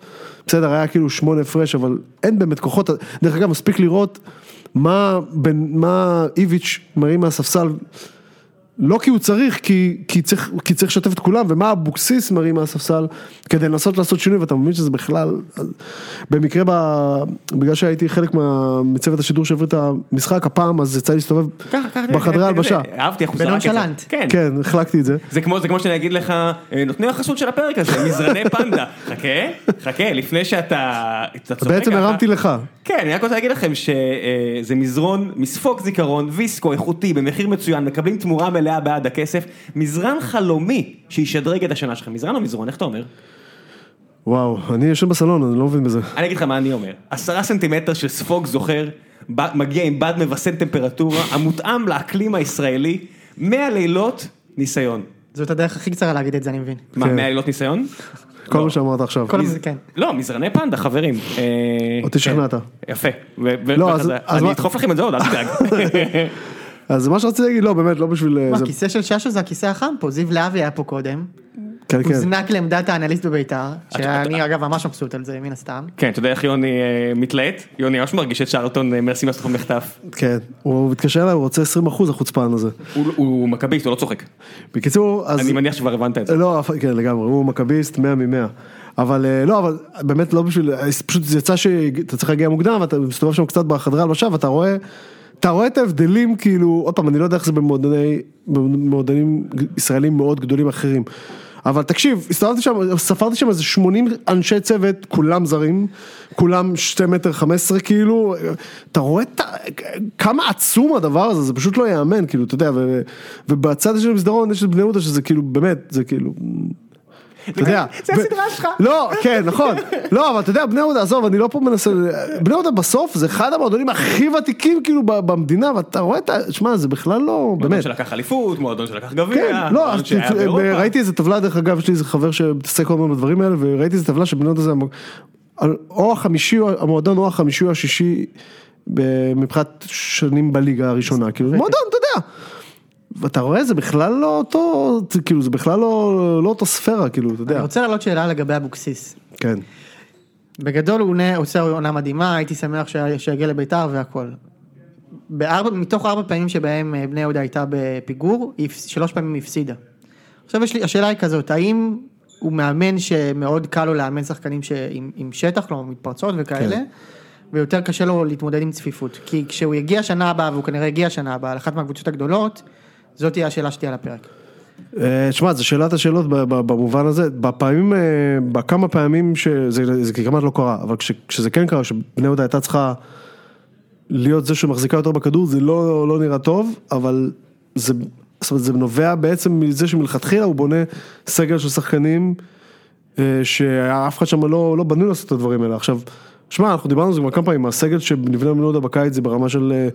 B: בסדר, היה כאילו שמונה הפרש, אבל אין באמת כוחות. דרך אגב, מספיק לראות מה, בין, מה איביץ' מרים מהספסל. לא כי הוא צריך, כי, כי צריך, כי צריך לשתף את כולם, ומה אבוקסיס מרים מהספסל כדי לנסות לעשות שינוי, ואתה מבין שזה בכלל... במקרה, ב... בגלל שהייתי חלק מה... מצוות השידור שהעביר את המשחק, הפעם, אז יצא לי להסתובב
A: ככה, ככה,
B: בחדרי
A: ככה,
B: ההלבשה.
A: ככה, אה, אהבתי איך הוא זרק את זה.
C: בנונשלנט.
A: כן.
B: כן, החלקתי את זה.
A: זה כמו, זה כמו שאני אגיד לך, אה, נותני החסות של הפרק הזה, מזרני פנדה. חכה, חכה, לפני שאתה... אתה צוחק
B: בעצם
A: ככה.
B: הרמתי לך.
A: כן, אני רק רוצה להגיד לכם שזה מזרון, מספוק זיכרון, ויסקו, איכותי, במחיר מצוין, מקבלים תמורה מלאה בעד הכסף. מזרן חלומי שישדרג את השנה שלכם. מזרן או מזרון, איך אתה אומר?
B: וואו, אני יושב בסלון, אני לא מבין בזה.
A: אני אגיד לך מה אני אומר. עשרה סנטימטר של ספוג זוכר, ב- מגיע עם בד מבשל טמפרטורה, המותאם לאקלים הישראלי, 100 לילות ניסיון.
C: זאת הדרך הכי קצרה להגיד את זה, אני מבין.
A: מה,
B: כן.
A: 100 לילות ניסיון?
B: כל מה שאמרת עכשיו.
C: כל הזמן, כן.
A: לא, מזרני פנדה, חברים. אה,
B: אותי שכנעת.
A: כן. יפה. ו- ו-
B: לא,
A: ואחרי
B: אז-
A: זה-
B: אז
A: אני
B: מה-
A: אדחוף לכם את זה עוד, אל תדאג.
B: אז מה שרציתי להגיד, לא, באמת, לא בשביל... אה,
C: מה,
B: זה-
C: הכיסא של ששו זה הכיסא החם פה, זיו להבי היה פה קודם.
B: כן, כן.
C: הוזנק לעמדת האנליסט בביתר, שאני אגב ממש מבסוט על זה, מן הסתם.
A: כן, אתה יודע איך יוני אה, מתלהט? יוני ממש מרגיש את שרלטון אה, מנסים לעשות לך מחטף.
B: כן. הוא מתקשר אליי, הוא רוצה 20% החוצפן הזה.
A: הוא- הוא מכביסט, הוא לא צוחק.
B: בקיצור, אז...
A: אני מניח שכבר הבנת את זה.
B: לא, אף- כן, לגמרי, הוא מכביסט 100 מ-100. אבל אה, לא, אבל באמת לא בשביל, אה, פשוט זה יצא שאתה צריך להגיע מוקדם, ואתה מסתובב שם קצת בחדרי הלבשה, ואתה רואה, אתה רואה את ההבדלים, כאילו, עוד פעם, אני לא יודע איך זה במועדוני, במועדונים ישראלים מאוד גדולים אחרים. אבל תקשיב, הסתובבתי שם, ספרתי שם איזה 80 אנשי צוות, כולם זרים, כולם 2 מטר 15 כאילו, אתה רואה את ה... כמה עצום הדבר הזה, זה פשוט לא ייאמן, כאילו, אתה יודע, ו... ובצד של המסדרון יש את בני יהודה שזה כאילו, באמת, זה כאילו... אתה יודע,
A: זה
B: ו-
A: הסדרה שלך.
B: לא, כן, נכון, לא, אבל אתה יודע, בני יהודה, עזוב, אני לא פה מנסה, בני יהודה בסוף זה אחד המועדונים הכי ותיקים כאילו ב- במדינה, ואתה רואה את ה... שמע, זה בכלל לא,
A: מועדון
B: באמת,
A: שלקח אליפות, מועדון שלקח גביע,
B: כן, לא,
A: מועדון
B: אז
A: אה, שהיה
B: תצא-
A: באירופה.
B: ראיתי איזה טבלה, דרך אגב, יש לי איזה חבר שמתעסק כל הזמן בדברים האלה, וראיתי איזה טבלה שבני יהודה זה המ- על- או החמישי, או- המועדון או החמישי או השישי ב- מבחינת שנים בליגה הראשונה, כאילו, מועדון, אתה יודע. ואתה רואה, זה בכלל לא אותו, זה כאילו, זה בכלל לא לא אותו ספירה, כאילו, אתה
C: אני
A: אה.
B: יודע.
C: רוצה להעלות שאלה לגבי אבוקסיס.
B: כן.
C: בגדול הוא עונה- עושה עונה מדהימה, הייתי שמח שה- שיגיע לביתר והכל. בארבע, מתוך ארבע פעמים שבהם אה, בני יהודה הייתה בפיגור, היא הפס- שלוש פעמים היא הפסידה. עכשיו יש לי, השאלה היא כזאת, האם הוא מאמן שמאוד קל לו לאמן שחקנים ש... עם, עם שטח, כלומר מתפרצות וכאלה,
B: כן.
C: ויותר קשה לו להתמודד עם צפיפות. כי כשהוא יגיע שנה הבאה, והוא כנראה יגיע שנה הבאה, לאחת מהקבוצות הגדולות, זאת תהיה השאלה שתהיה על הפרק.
B: אה, תשמע, זו שאלת השאלות ב- ב- במובן הזה, בפעמים, אה, בכמה פעמים שזה זה כמעט לא קרה, אבל כש, כשזה כן קרה, שבני יהודה הייתה צריכה להיות זה שמחזיקה יותר בכדור, זה לא, לא נראה טוב, אבל זה, זאת אומרת, זה נובע בעצם מזה שמלכתחילה הוא בונה סגל של שחקנים, אה, שאף אחד שם לא, לא בנוי לעשות את הדברים האלה. עכשיו, שמע, אנחנו דיברנו על זה כבר כמה פעמים, הסגל שנבנה בבני יהודה בקיץ זה ברמה של... אה,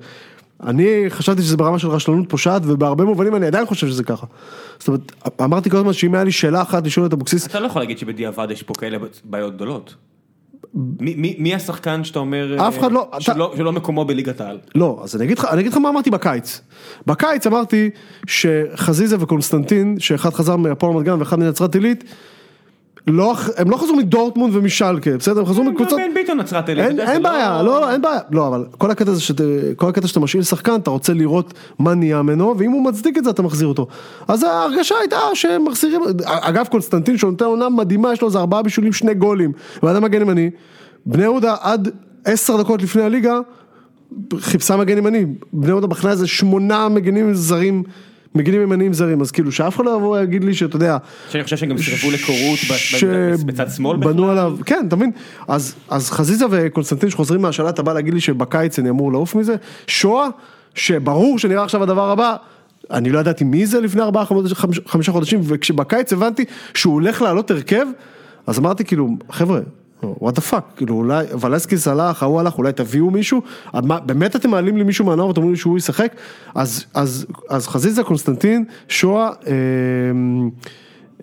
B: אני חשבתי שזה ברמה של רשלנות פושעת, ובהרבה מובנים אני עדיין חושב שזה ככה. זאת אומרת, אמרתי כל הזמן שאם היה לי שאלה אחת לשאול את אבוקסיס,
A: אתה לא יכול להגיד שבדיעבד יש פה כאלה בעיות גדולות. מי- מי מי השחקן שאתה אומר...
B: אף
A: אה,
B: אחד לא-
A: שלא- שלא מקומו בליגת העל.
B: לא, אז אני אגיד לך, אני אגיד לך מה אמרתי בקיץ. בקיץ אמרתי שחזיזה וקונסטנטין, שאחד חזר מהפועל רמת גן ואחד מנצרת עילית, לא, הם לא חזרו מדורטמונד ומשלקה, בסדר? הם חזרו מקבוצות...
A: בן ביטון נצרת עילית.
B: אין,
A: אתה יודע,
B: אין
A: זה
B: בעיה, לא, לא, אין בעיה, לא, אבל כל הקטע הזה שאתה, כל הקטע שאתה משאיל שחקן, אתה רוצה לראות מה נהיה ממנו, ואם הוא מצדיק את זה, אתה מחזיר אותו. אז ההרגשה הייתה שהם מחזירים, אגב, קונסטנטין שנותן עונה מדהימה, יש לו איזה ארבעה בישולים, שני גולים, ואדם מגן ימני, בני יהודה עד עשר דקות לפני הליגה, חיפשה מגן ימני, בני יהודה בחנה איזה שמונה מגנים זרים, מגנים ימניים זרים, אז כאילו שאף אחד לא יבוא ויגיד לי שאתה יודע,
A: שאני חושב שהם גם סירבו לקורות ב- ב- בצד שמאל. בכלל.
B: בנו עליו, כן, אתה מבין? אז, אז חזיזה וקונסטנטין שחוזרים מהשאלה, אתה בא להגיד לי שבקיץ אני אמור לעוף מזה? שואה, שברור שנראה עכשיו הדבר הבא, אני לא ידעתי מי זה לפני ארבעה, חמש- חמש- חמישה חודשים, וכשבקיץ הבנתי שהוא הולך לעלות הרכב, אז אמרתי כאילו, חבר'ה, וואט דה פאק, כאילו אולי ולסקיס הלך, ההוא הלך, אולי תביאו מישהו, אז מה- באמת אתם מעלים לי מישהו מהנוער ואתם אומרים לי שהוא ישחק, אז, אז, אז חזיזה, קונסטנטין, שואה,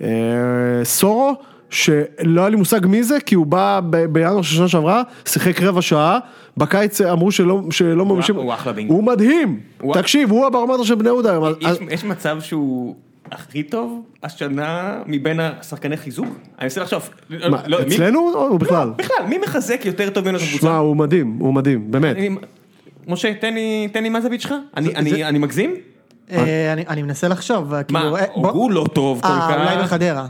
B: אה, אה, סורו, שלא היה לי מושג מי זה, כי הוא בא ב- בינואר של שנה שעברה, שיחק רבע שעה, בקיץ אמרו שלא, שלא מממשים,
A: הוא אחלה בינג.
B: הוא מדהים,
A: הוא-
B: תקשיב, הוא הברומטר של בני יהודה, אה, היום, אז-
A: יש- יש מצב שהוא הכי טוב השנה מבין השחקני חיזוק? אני מנסה לחשוב.
B: מה,
A: לא, מי- לא,
B: אצלנו או בכלל?
A: בכלל, מי מחזק יותר טוב ממנו את הקבוצה?
B: שמע, הוא מדהים, הוא מדהים, באמת,
A: אני- משה, תן לי, תן לי מה זווית שלך? אני, אני, אני מגזים?
C: אה, אני, אני מנסה לחשוב,
A: מה,
C: כאילו, אה, בוא-
A: הוא לא טוב כל כך.
C: אה, אולי בחדרה.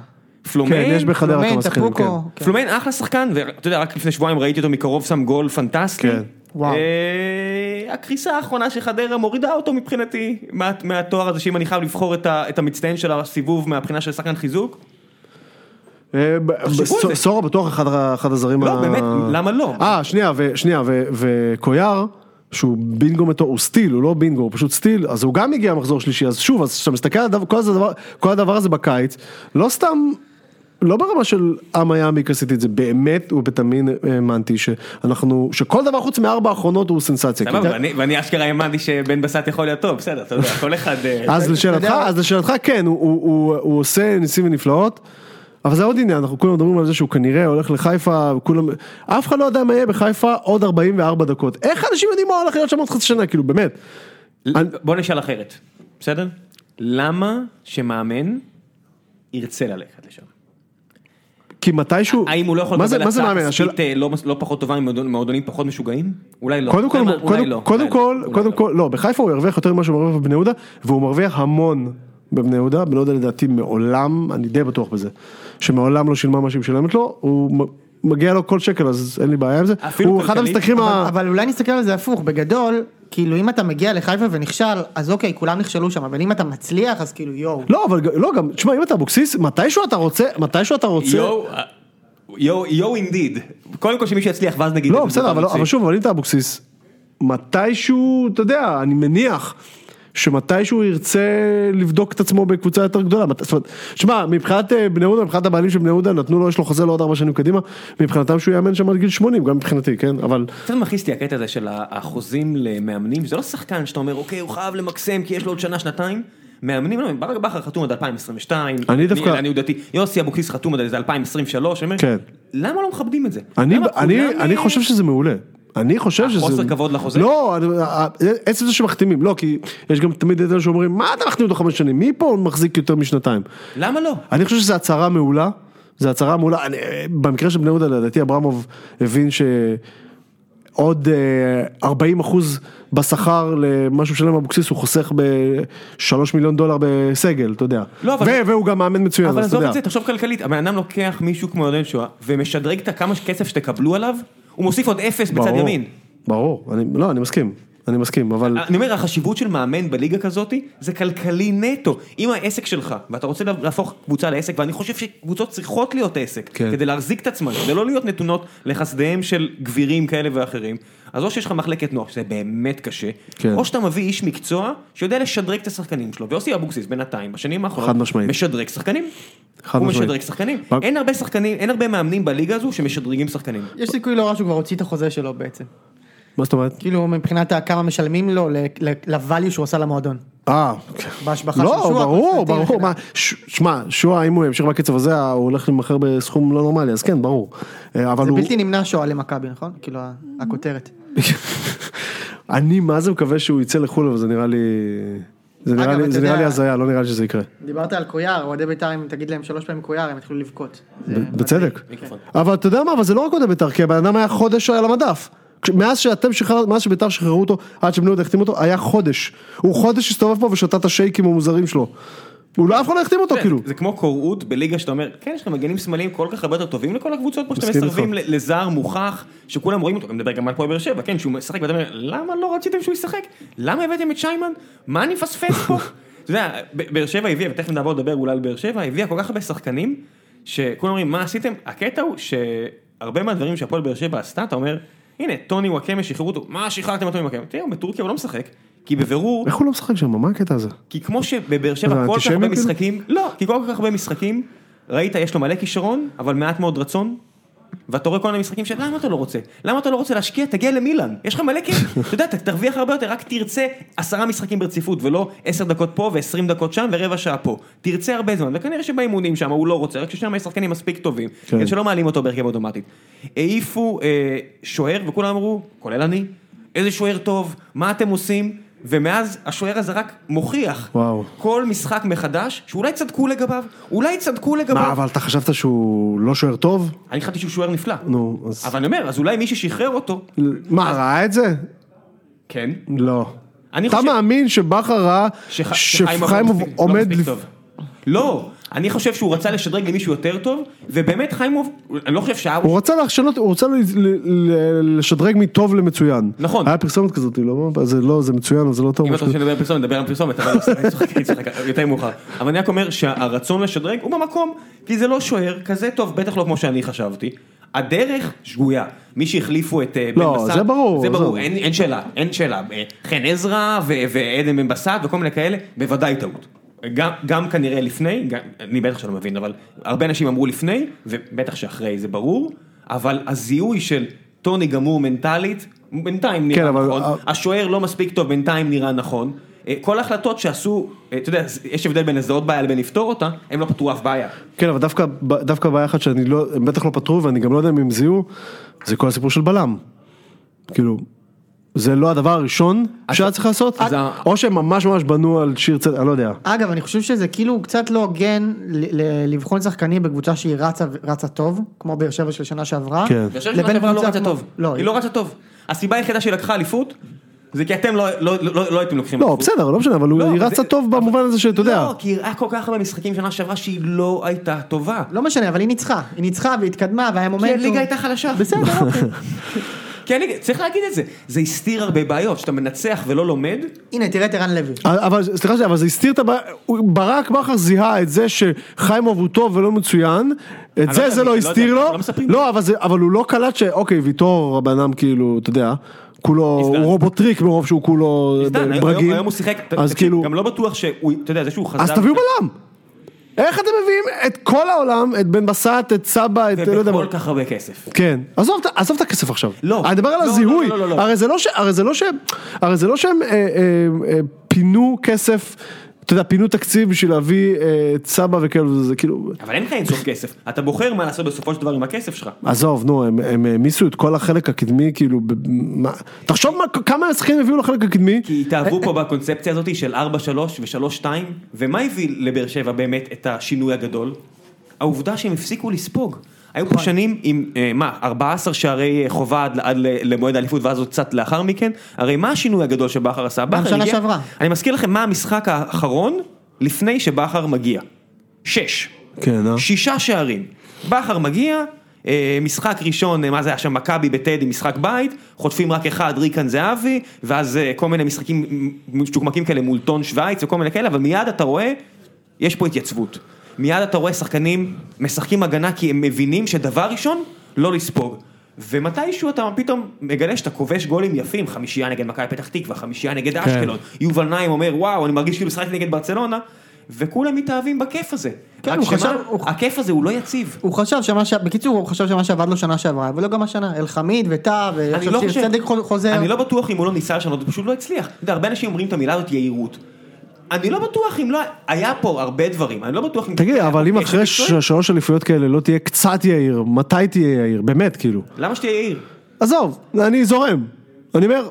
A: פלומיין?
B: כן, יש בח- בחדרה
C: פלומן,
B: כמה שחקנים,
C: טפוקו,
B: כן.
C: כן.
A: אוקיי. פלומיין אחלה שחקן, ואתה יודע, רק לפני שבועיים ראיתי אותו מקרוב שם גול פנטסטי.
B: כן.
C: וואו.
A: אה, הקריסה האחרונה של חדרה מורידה אותו מבחינתי מה- מהתואר הזה, שאם אני חייב לבחור את ה- את המצטיין של הסיבוב מהבחינה של שחקן חיזוק.
B: אה, ב-
A: תחשבו
B: ב-
A: על זה.
B: סורו בטוח אחד ה- אחד הזרים,
A: לא,
B: ה-
A: באמת, למה לא?
B: אה, שנייה, ו- שנייה, ו- וקויאר, שהוא בינגו מטורף, הוא סטיל, הוא לא בינגו, הוא פשוט סטיל, אז הוא גם הגיע מחזור שלישי, אז שוב, אז כשאתה מסתכל על הדבר- כל הדבר- כל הדבר הזה בקיץ, לא סתם לא ברמה של עם מיאמי עשיתי את זה, באמת ובתמים האמנתי שאנחנו, שכל דבר חוץ מארבע האחרונות הוא סנסציה.
A: סבבה,
B: כי-
A: ואני- ואני אשכרה האמנתי שבן בסט יכול להיות טוב, בסדר, אתה יודע, כל אחד... אה,
B: אז לשאלתך,
C: יודע-
B: אז לשאלתך כן, הוא- הוא- הוא הוא עושה ניסים ונפלאות, אבל זה עוד עניין, אנחנו כולם מדברים על זה שהוא כנראה הולך לחיפה, כולם, אף אחד לא יודע מה יהיה בחיפה עוד 44 דקות. איך אנשים יודעים מה הולך להיות שם עוד חצי שנה, כאילו באמת. אני-
A: בוא נשאל אחרת, בסדר? למה שמאמן ירצה ללכת לשם?
B: כי מתישהו,
A: האם הוא לא יכול
B: מה זה-
A: לקבל
B: מה זה
A: הצעה
B: מאמן? השאלה-
A: כספית אה, לא מס- לא פחות טובה ממועדונים פחות משוגעים? אולי לא.
B: קודם כל,
A: למה?
B: הוא-
A: אולי
B: קודם-
A: לא.
B: קודם
A: אולי
B: כל,
A: לא.
B: קודם
A: אולי
B: כל, לא, בחיפה הוא ירוויח יותר ממה שהוא מרוויח בבני יהודה, והוא מרוויח המון בבני יהודה, בני יהודה לדעתי מעולם, אני די בטוח בזה, שמעולם לא שילמה מה שהיא משלמת לו, הוא מ- מגיע לו כל שקל אז אין לי בעיה עם זה,
A: אפילו
B: הוא אחד
A: כלכלית?
B: המשתכרים
C: אבל,
B: ה...
C: אבל אולי נסתכל על זה הפוך, בגדול, כאילו אם אתה מגיע לחיפה ונכשל, אז אוקיי, כולם נכשלו שם, אבל אם אתה מצליח, אז כאילו יואו.
B: לא, אבל ג- לא, גם, תשמע, אם אתה אבוקסיס, מתישהו אתה רוצה, מתישהו אתה
A: לא.
B: רוצה...
A: יואו, אה, יואו, יואו אינדיד. קודם כל שמישהו יצליח ואז נגיד...
B: לא,
A: איזה
B: בסדר,
A: דבר
B: אבל לא-
A: נוציא.
B: אבל שוב, אבל אם אתה אבוקסיס, מתישהו, אתה יודע, אני מניח. שמתישהו ירצה לבדוק את עצמו בקבוצה יותר גדולה. מת- זאת אומרת, שמע, מבחינת אה, בני יהודה, מבחינת הבעלים של בני יהודה, נתנו לו, יש לו חוזה לעוד ארבע שנים קדימה, מבחינתם שהוא יאמן שם עד גיל 80, גם מבחינתי, כן? אבל
A: קצת מכעיס אותי הקטע הזה של החוזים למאמנים, שזה לא שחקן שאתה אומר, אוקיי, הוא חייב למקסם כי יש לו עוד שנה, שנתיים. מאמנים, לא, ברק בכר חתום עד 2022,
B: אני דווקא-
A: אני יודעתי, יוסי אבוקסיס חתום עד איזה 2023, אני אומר,
B: כן.
A: למה לא מכבדים את זה?
B: אני,
A: למה
B: אני,
A: כולם,
B: אני
A: אה,
B: חושב שזה מעולה. אני חושב שזה...
A: חוסר כבוד לחוזה?
B: לא, אני- ה- עצם זה שמחתימים, לא, כי יש גם תמיד את אלה שאומרים, מה אתה מחתים אותו חמש שנים? מי פה מחזיק יותר משנתיים?
A: למה לא?
B: אני חושב שזו הצהרה מעולה, זו הצהרה מעולה, אני, במקרה של בני יהודה לדעתי אברמוב הבין שעוד אה, 40 אחוז בשכר למה שהוא משלם אבוקסיס הוא חוסך ב-3 מיליון דולר בסגל, אתה יודע.
A: לא, אבל-
B: ו- והוא גם מאמן מצוין,
A: אבל
B: אז אתה
A: עזוב
B: יודע.
A: את זה, תחשוב כלכלית, הבן אדם לוקח מישהו כמו יונן שואה, ומשדרג את הכמה כסף שתקבלו עליו, הוא מוסיף עוד אפס בצד
B: ברור,
A: ימין. אה,
B: ברור, אני, לא, אני מסכים, אני מסכים, אבל...
A: אני אומר, החשיבות של מאמן בליגה כזאת, זה כלכלי נטו. אם העסק שלך, ואתה רוצה להפוך קבוצה לעסק, ואני חושב שקבוצות צריכות להיות עסק,
B: כן.
A: כן. כדי להחזיק את עצמן, כדי לא להיות נתונות לחסדיהם של גבירים כאלה ואחרים, אז או שיש לך מחלקת נוער, שזה באמת קשה,
B: כן.
A: כן. או שאתה מביא איש מקצוע שיודע לשדרג את השחקנים שלו, ויוסי אבוקסיס בינתיים, בשנים האחרונות,
B: חד משמעית.
A: משדרג שחקנים.
B: חד
A: הוא
B: משמעית.
A: משדרג שחקנים.
B: רק-
A: אין הרבה שחקנים, אין הרבה מאמנים בליגה הזו שמשדרגים שחקנים.
C: יש סיכוי לא רע שהוא כבר הוציא את החוזה שלו בעצם.
B: מה זאת אומרת?
C: כאילו מבחינת ה- כמה משלמים לו ל- ל- ל-value שהוא עשה למועדון.
B: אה,
C: בהשבחה של
B: לא,
C: שועה,
B: ברור,
C: פלסטין,
B: ברור,
C: כן.
B: מה, ש- שמע, שועה אם הוא ימשיך בקצב הזה, הוא הולך להימכר בסכום לא נורמלי, אז כן, ברור. אה, אבל
C: זה
B: הוא...
C: בלתי נמנע שואה למכבי, נכון? כאילו ה- הכותרת.
B: אני מה זה מקווה שהוא יצא לחו"ל, אבל זה נראה לי... זה
C: אגב,
B: נראה לי,
C: אתה
B: זה נראה
C: יודע- אה,
B: לי הזיה, לא נראה לי שזה יקרה.
C: דיברת על קויאר, אוהדי בית"ר, אם תגיד להם שלוש פעמים קויאר, הם יתחילו לבכות. זה
B: ב-
C: מדהים.
B: בצדק.
A: מיקרופון.
B: אבל אתה יודע מה, אבל זה לא רק עוד בית"ר, כי הבן אדם היה חודש על המדף. כש- מאז שאתם שחררתם, מאז שבית"ר שחררו אותו, עד שבני יהודה החתימו אותו, היה חודש. הוא חודש הסתובב פה ושתה את השייקים המוזרים שלו. הוא לא אף אחד לא החתים אותו
A: זה-
B: כאילו.
A: זה כמו קורות בליגה שאתה אומר, כן, יש לכם מגנים שמאליים כל כך הרבה יותר טובים לכל הקבוצות, פה שאתם
B: מסכים איתך.
A: מסרבים ל- לזר מוכח, שכולם רואים אותו, אני מדבר גם על הפועל באר שבע, כן, שהוא משחק, ואתה אומר, למה לא רציתם שהוא ישחק? למה הבאתם את שיימן? מה אני מפספס פה? אתה יודע, ב- באר שבע הביאה, ותכף נעבור לדבר אולי על באר שבע, הביאה כל כך הרבה שחקנים, שכולם אומרים, מה עשיתם? הקטע הוא שהרבה מהדברים שהפועל באר שבע עשתה, אתה אומר, הנה, טוני וואקמה שחררו אותו, מה שחררתם את טוני וואקמה? תראו, בטורקיה הוא לא משחק, כי בבירור,
B: איך הוא לא משחק שם? מה הקטע הזה?
A: כי כמו שבבאר
B: מה,
A: שבע כל כך
B: אנטישמי
A: הרבה
B: כאילו?
A: משחקים, לא, כי כל כך הרבה משחקים, ראית, יש לו מלא כישרון, אבל מעט מאוד רצון, ואתה רואה כל מיני משחקים של למה אתה לא רוצה? למה אתה לא רוצה להשקיע? תגיע למילאן, יש לך מלא כיף, אתה יודע, אתה תרוויח הרבה יותר, רק תרצה עשרה משחקים ברציפות, ולא עשר דקות פה ועשרים דקות שם ורבע שעה פה. תרצה הרבה זמן, וכנראה שבאימונים שם הוא לא רוצה, רק ששם יש שחקנים מספיק טובים,
B: כן.
A: כן. שלא מעלים אותו בהרכב אוטומטית. העיפו אה, שוער, וכולם אמרו, כולל אני, איזה שוער טוב, מה אתם עושים? ומאז השוער הזה רק מוכיח
B: וואו.
A: כל משחק מחדש שאולי צדקו לגביו, אולי צדקו לגביו.
B: מה, אבל אתה חשבת שהוא לא שוער טוב?
A: אני חשבתי שהוא שוער נפלא.
B: נו, אז...
A: אבל אני אומר, אז אולי מי ששחרר אותו,
B: מה, ראה את זה?
A: כן,
B: לא.
A: אני
B: אתה
A: חושב-
B: מאמין שבכר ראה
A: שח-
B: שחיים
A: לא מספיק- לא
B: עומד...
A: מספיק
B: לפ-
A: טוב. לא, אני חושב שהוא רצה לשדרג למישהו יותר טוב, ובאמת חיימוב, אני לא חושב שהיה...
B: הוא רצה להשנות, הוא רצה ל- ל- ל- לשדרג מטוב למצוין.
A: נכון.
B: היה פרסומת כזאת, לא? זה לא, זה מצוין, אבל זה לא טוב.
A: אם אתה רוצה לדבר על פרסומת, נדבר על פרסומת, אבל לא, אני צוחק, אני צוחק, יותר מאוחר. אבל אני רק אומר שהרצון לשדרג הוא במקום, כי זה לא שוער כזה טוב, בטח לא כמו שאני חשבתי. הדרך שגויה, מי שהחליפו את אה, בן
B: לא,
A: בסט,
B: זה ברור,
A: זה
B: עזוב.
A: ברור, אין אין שאלה, אין שאלה, אה, חן עזרא ו- ועדן בן בסט וכל מיני כאלה, בוודאי טעות. גם, גם כנראה לפני, גם, אני בטח שלא מבין, אבל הרבה אנשים אמרו לפני, ובטח שאחרי זה ברור, אבל הזיהוי של טוני גמור מנטלית, בינתיים נראה
B: כן,
A: כן,
B: אבל-
A: נכון, אבל... השוער לא מספיק טוב, בינתיים נראה נכון. אה, כל ההחלטות שעשו, אה, אתה יודע, יש הבדל בין לזהות בעיה לבין לפתור אותה, הם לא פתרו אף בעיה.
B: כן, אבל דווקא, דווקא בעיה אחת שאני לא, הם בטח לא פתרו ואני גם לא יודע אם הם זיהו, זה כל הסיפור של בלם. כאילו, זה לא הדבר הראשון שהיה צריך לעשות,
A: אז ה-
B: או שהם ממש ממש בנו על שיר צדק, אני לא יודע.
C: אגב, אני חושב שזה כאילו קצת לא הוגן ל- ל- לבחון שחקנים בקבוצה שהיא רצה, רצה טוב, כמו באר שבע של שנה שעברה.
B: כן.
A: באר שבע
C: לבין
A: שנה שעברה לא
C: קבוצה
A: רצה
C: כמו-
A: טוב.
C: לא,
A: היא לא רצה טוב. הסיבה היחידה שהיא לקחה אליפות, זה כי אתם לא- לא לא- לא הייתם לוקחים
B: לא,
A: אליפות.
B: בסדר, לא משנה, אבל הוא-
A: לא,
B: היא
A: אבל
B: רצה
A: זה-
B: טוב במובן הזה שאתה יודע.
A: לא, כי היא ראה כל כך הרבה משחקים שנה שעברה שהיא לא הייתה טובה.
C: לא משנה, אבל היא ניצחה. היא ניצחה והתקדמה והיה מומנטום.
A: הליגה הייתה חלשה.
C: בסדר, אוקיי.
A: כי הליגה, צריך להגיד את זה, זה הסתיר הרבה בעיות, שאתה מנצח ולא לומד,
C: הנה, תראה את ערן לוי.
B: אבל סליחה שנייה, אבל זה הסתיר את הבעיה, הוא- ברק בכר זיהה את זה שחיימוב הוא טוב ולא מצוין, את
A: לא
B: זה
A: יודע,
B: זה
A: אני
B: לא
A: לא
B: הסתיר
A: יודע,
B: לו,
A: לא מספרים.
B: לא אבל זה- אבל הוא לא קלט שאוקיי ויטור הבן אדם כאילו אתה יודע, כולו הוא
A: הזדהן.
B: רובוטריק מרוב שהוא כולו
A: סתם, היום-
B: ברגיל,
A: היום הוא שיחק, ת-
B: אז
A: תקשיב,
B: כאילו,
A: גם לא בטוח שהוא, אתה יודע, זה שהוא חזר,
B: אז תביאו בלם, איך אתם מביאים את כל העולם, את בן בסט, את סבא, את לא יודע מה,
A: ובכל כך הרבה כסף.
B: כן, עזוב, את- עזוב את הכסף עכשיו.
A: לא.
B: אני מדבר על
A: לא, לא,
B: הזיהוי.
A: לא, לא, לא, לא.
B: הרי זה לא ש- הרי זה לא שהם, הרי זה לא שהם אה, אה, אה, פינו כסף, אתה יודע, פינו תקציב בשביל להביא אה, את סבא וכאלה, וזה כאילו,
A: אבל אין לך אינסוף כסף, אתה בוחר מה לעשות בסופו של דבר עם הכסף שלך.
B: עזוב, נו, הם- הם העמיסו את כל החלק הקדמי, כאילו, ב- מה- תחשוב מה- כמה שחקנים הביאו לחלק הקדמי.
A: כי התאהבו פה בקונספציה הזאת של 4-3 ו-3-2, ומה הביא לבאר שבע באמת את השינוי הגדול? העובדה שהם הפסיקו לספוג. היו פה שנים עם, אה, מה, 14 שערי אה, חובה עד, ל- עד ל- למועד האליפות ואז עוד קצת לאחר מכן? הרי מה השינוי הגדול שבכר עשה? בכר
C: שנה
A: הגיע-
C: שעברה.
A: אני מזכיר לכם מה המשחק האחרון לפני שבכר מגיע. שש.
B: כן, אה?
A: שישה שערים. בכר מגיע, אה, משחק ראשון, אה, מה זה היה שם, מכבי בטדי, משחק בית, חוטפים רק אחד, ריקן זהבי, ואז אה, כל מיני משחקים משתוקמקים כאלה מול טון שווייץ וכל מיני כאלה, אבל מיד אתה רואה, יש פה התייצבות. מיד אתה רואה שחקנים משחקים הגנה כי הם מבינים שדבר ראשון, לא לספוג. ומתישהו אתה פתאום מגלה שאתה כובש גולים יפים, חמישייה נגד מכבי פתח תקווה, חמישייה נגד אשקלון, יובל נעים אומר וואו אני מרגיש כאילו משחק נגד ברצלונה, וכולם מתאהבים בכיף הזה.
C: כן,
A: רק
C: הוא
A: שמה,
C: חשב- הוא-
A: הכיף הזה הוא לא יציב.
C: הוא חשב שמה ש... בקיצור, הוא חשב שמה שעבד לו שנה שעברה, ולא גם השנה. אלחמיד וטאה,
A: אני
C: ועכשיו
A: לא
C: שיר
A: חושב,
C: צדק חו- חוזר.
A: אני לא בטוח אם הוא לא ניסה לשנות, הוא פשוט לא הצליח. אתה יודע, הרבה אנשים אומרים את המילה הזאת יהירות. אני לא בטוח אם לא, היה פה הרבה דברים, אני לא בטוח אם...
B: תגיד,
A: היה
B: אבל
A: פה
B: אם
A: קשב
B: אחרי
A: מקצועי,
B: ש- שלוש אליפויות כאלה לא תהיה קצת יאיר, מתי תהיה יאיר? באמת, כאילו.
A: למה שתהיה יהיר?
B: עזוב, אני זורם. אני אומר,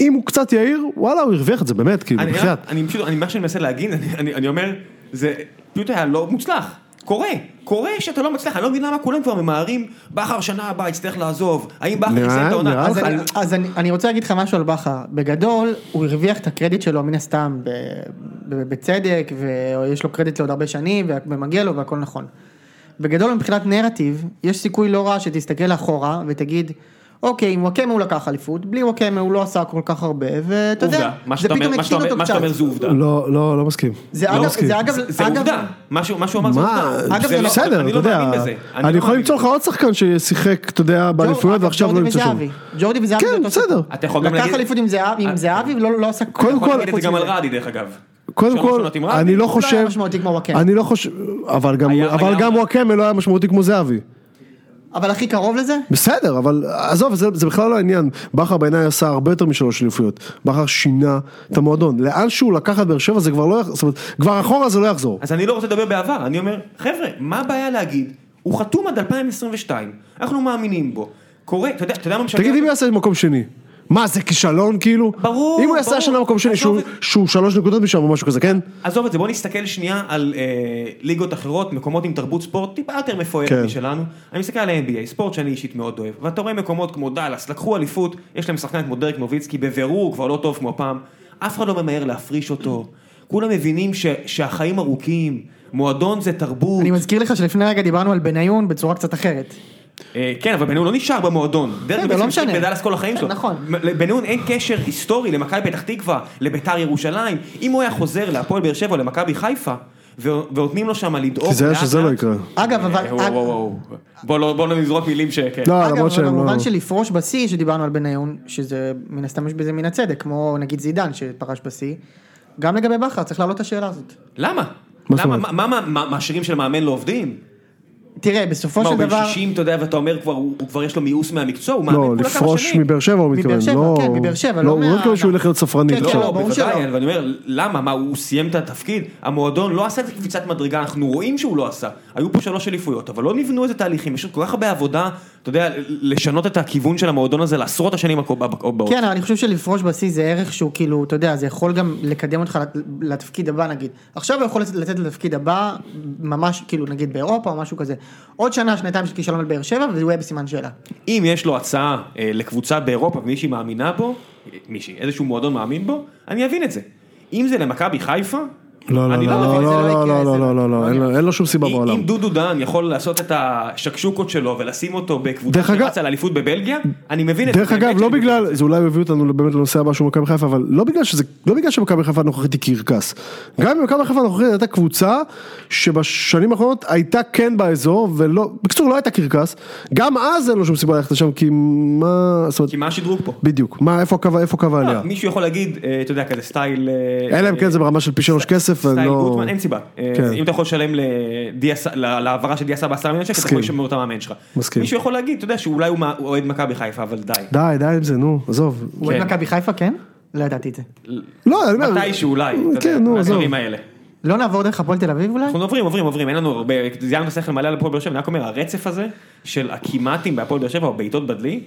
B: אם הוא קצת יאיר, וואלה, הוא הרוויח את זה, באמת, כאילו,
A: אני-
B: בחייאת.
A: אני פשוט, אני- מה שאני מנסה להגיד, אני- אני אני אומר, זה פשוט היה לא מוצלח. קורה, קורה שאתה לא מצליח, אני לא מבין למה כולם כבר ממהרים, בכר שנה הבאה יצטרך לעזוב, האם בכר
B: נראה-
A: יסיים את העונה?
B: נראה
A: אז
B: לך?
A: אני-
C: אני- אז אני- אני רוצה להגיד לך משהו על בכר. בגדול, הוא הרוויח את הקרדיט שלו מן הסתם ב- ב- בצדק, ויש לו קרדיט לעוד הרבה שנים, וה- ומגיע לו והכל נכון. בגדול, מבחינת נרטיב, יש סיכוי לא רע שתסתכל אחורה ותגיד, אוקיי, עם וואקמה הוא לקח אליפות, בלי וואקמה הוא לא עשה כל כך הרבה, ואתה יודע,
A: עובדה, מה
C: זה
A: שאתה אומר-
C: פתאום
A: מה שאתה אומר-
C: הקטין אותו
A: מה שאתה
C: קצת.
A: אומר זה עובדה.
B: לא, לא, לא מסכים.
C: זה
B: לא
C: אגב,
B: מסכים.
C: זה אגב,
A: זה
C: אגב-
A: עובדה, מה שהוא מה שהוא אמר זה
B: מה,
A: עובדה.
C: אגב,
A: זה
C: זה
A: לא-
B: בסדר,
A: אני
B: אתה
A: לא
B: יודע,
A: מאמין בזה.
B: אני
A: לא
B: יכול
A: מאמין
B: למצוא לך
A: בזה.
B: עוד שחקן ששיחק, אתה יודע, באליפויות
C: אגב,
B: ועכשיו לא
C: ג'ורדי
B: נמצא שם.
C: וזהבי. ג'ורדי וזהבי,
B: כן,
C: זה אותו
B: בסדר.
C: סיפור.
A: אתה יכול גם
C: לקח
A: להגיד- אה,
C: אליפות עם זהבי, עם זהבי ולא לא עשה
B: קודם
A: אתה יכול
B: כל-
A: להגיד את זה גם על
C: מזה.
A: רעדי דרך אגב.
B: קודם
A: אפשר
B: כל,
A: לשנות עם רדי.
B: אני לא
C: הוא לא היה
B: חושב,
C: משמעותי כמו וואקמה.
B: אני לא חושב, אבל גם-
A: היה-
B: אבל
A: היה-
B: גם וואקמה לא היה משמעותי כמו זהבי.
C: אבל הכי קרוב לזה,
B: בסדר, אבל עזוב, זה, זה בכלל לא העניין. בכר בעיניי עשה הרבה יותר משלוש אליפויות. בכר שינה את המועדון. לאן שהוא לקח את באר שבע זה כבר לא יחזור, זאת אומרת, כבר אחורה זה לא יחזור.
A: אז אני לא רוצה לדבר בעבר, אני אומר, חבר'ה, מה הבעיה להגיד? הוא חתום עד 2022, אנחנו מאמינים בו. קורה, אתה יודע, אתה יודע מה משגע?
B: תגיד, אם הוא יעשה מקום שני, מה, זה כישלון כאילו?
A: ברור,
B: אם הוא יעשה
A: ברור.
B: השנה מקום שני,
A: עזוב
B: שהוא,
A: את-
B: שהוא שלוש נקודות משם או משהו כזה, כן?
A: עזוב את זה, בוא נסתכל שנייה על אה, ליגות אחרות, מקומות עם תרבות ספורט טיפה יותר מפוארת
B: כן.
A: כן. משלנו. אני מסתכל על ה-NBA, ספורט שאני אישית מאוד אוהב, ואתה רואה מקומות כמו דאלאס, לקחו אליפות, יש להם שחקן כמו דרק נוביצקי, בבירור הוא כבר לא טוב כמו פעם, אף אחד לא ממהר להפריש אותו. כולם מבינים ש- שהחיים ארוכים, מועדון זה תרבות.
C: אני מזכיר לך שלפני רגע דיברנו על בניון בצורה קצת אחרת.
A: אה, כן, אבל בן-און לא נשאר במועדון. דרך
C: לא
A: אגב, יש
C: משנה.
A: בדאלאס כל החיים
C: כן,
A: שלו.
C: נכון.
A: לבן-און אין קשר היסטורי למכבי פתח תקווה, לביתר ירושלים. אם הוא היה חוזר להפועל באר שבע או למכבי חיפה, ו- ונותנים לו שם לדאוג...
B: כי זה היה
A: לאט
B: שזה לא
A: לאט-
B: יקרה.
C: אגב, אבל...
A: אה, וואו, וואו, וואו. בוא לא- בוא לא נזרוק מילים שכן.
B: לא,
C: אגב,
B: למרות
C: אבל
B: שהם לא...
C: במובן של לפרוש בשיא שדיברנו על בניון, שזה מן הסתם יש בזה מן הצדק, כמו נגיד זידן שפרש בשיא, גם לגבי בכר, צריך להעלות את השאלה הזאת.
A: למה?
B: מה זאת
A: למה?
B: אומרת?
A: מה- מה- מה מהשירים של מאמן לא עובדים?
C: תראה, בסופו
A: מה,
C: של
A: הוא בן
C: דבר...
A: 60, אתה יודע, ואתה אומר, כבר- הוא הוא כבר יש לו מיאוס מהמקצוע, הוא מאמן
B: לא,
A: כולה כמה
B: לפרוש
A: שנים.
B: מבאר שבע הוא
C: מבאר
B: מתכוון,
C: שבע,
B: לא...
C: כן, מבאר שבע, לא
B: הוא לא
C: מה-
B: מתכוון שהוא ילך להיות ספרנית.
C: כן,
B: לא.
C: כן, לא,
A: לא,
C: ברור
A: בוודאי,
C: שלא.
A: אבל אני אומר, למה? מה, הוא סיים את התפקיד? המועדון לא עשה את קפיצת מדרגה, אנחנו רואים שהוא לא עשה. היו פה שלוש אליפויות, אבל לא נבנו איזה תהליכים, יש עוד כל כך הרבה עבודה, אתה יודע, לשנות את הכיוון של המועדון הזה לעשרות השנים הקוב- הבאות.
C: כן, אבל אני חושב שלפרוש בשיא זה ערך שהוא כאילו, אתה יודע, זה יכול גם לקדם אותך לת- לתפקיד הבא נגיד. עכשיו הוא יכול לתת לתפקיד הבא, ממש כאילו נגיד באירופה או משהו כזה. עוד שנה, שנתיים של כישלון על באר שבע, והוא יהיה בסימן שאלה.
A: אם יש לו הצעה אה, לקבוצה באירופה ומישהי מאמינה בו, אה, מישהי, איזשהו מועדון מאמין בו, אני אבין את זה. אם זה למכבי חיפה,
B: לא, לא,
A: אני
B: לא,
A: מבין את זה.
C: לא
B: לא,
C: יקרה,
B: לא,
C: זה
B: לא, לא,
C: לא-
B: לא, לא, אין לו- אין לו שום סיבה
A: אם-
B: בעולם.
A: אם דודו דן יכול לעשות את השקשוקות שלו ולשים אותו בקבוצה
B: דרך אגב-
A: שרצה לאליפות בבלגיה, אני מבין את זה.
B: דרך
A: באמת
B: אגב, לא
A: שאני-
B: בגלל, זה אולי מביא אותנו באמת לנושא הבא שהוא מכבי חיפה, אבל לא בגלל שזה, לא בגלל שמכבי חיפה הנוכחית היא קרקס. גם אם מכבי חיפה הנוכחית הייתה קבוצה שבשנים האחרונות הייתה כן באזור, ולא, בקיצור לא הייתה קרקס, גם אז אין לו שום סיבה ללכת לשם, כי מה, זאת אומרת,
A: כי מה השדרוג פה?
B: בדיוק, מה, איפה הקו, איפה קו העלייה?
A: מישהו יכול להגיד, אה, אתה יודע, כזה סטייל... אה,
B: אלא אם כן זה ברמה של פי שלוש כסף,
A: סטייל
B: ואני לא...
A: גוטמן, אין סיבה. אה,
B: כן.
A: אם אתה יכול לשלם לדיאס- לה- להעברה של דיאסה בעשרה מיליון שקל, אתה
B: מסכים.
A: יכול לשמור את המאמן שלך.
B: מסכים.
A: מישהו יכול להגיד, אתה יודע, שאולי הוא מה- הוא אוהד מכבי חיפה, אבל די.
B: די, די עם זה, נו, עזוב.
C: הוא עוד
A: כן.
C: מכבי חיפה, כן? לא ידעתי את זה.
B: לא, אני אומר...
A: מתישהו אולי, אתה יודע,
B: כן, נו, עזוב.
A: מהדברים האלה.
C: לא נעבור דרך הפועל תל אביב אולי?
A: אנחנו עוברים, עוברים, עוברים, אין לנו הרבה, זיינו שכל מלא על הפועל באר שבע, אני רק אומר, הרצף הזה של הכמעטים בהפועל באר שבע או בעיטות בדלי,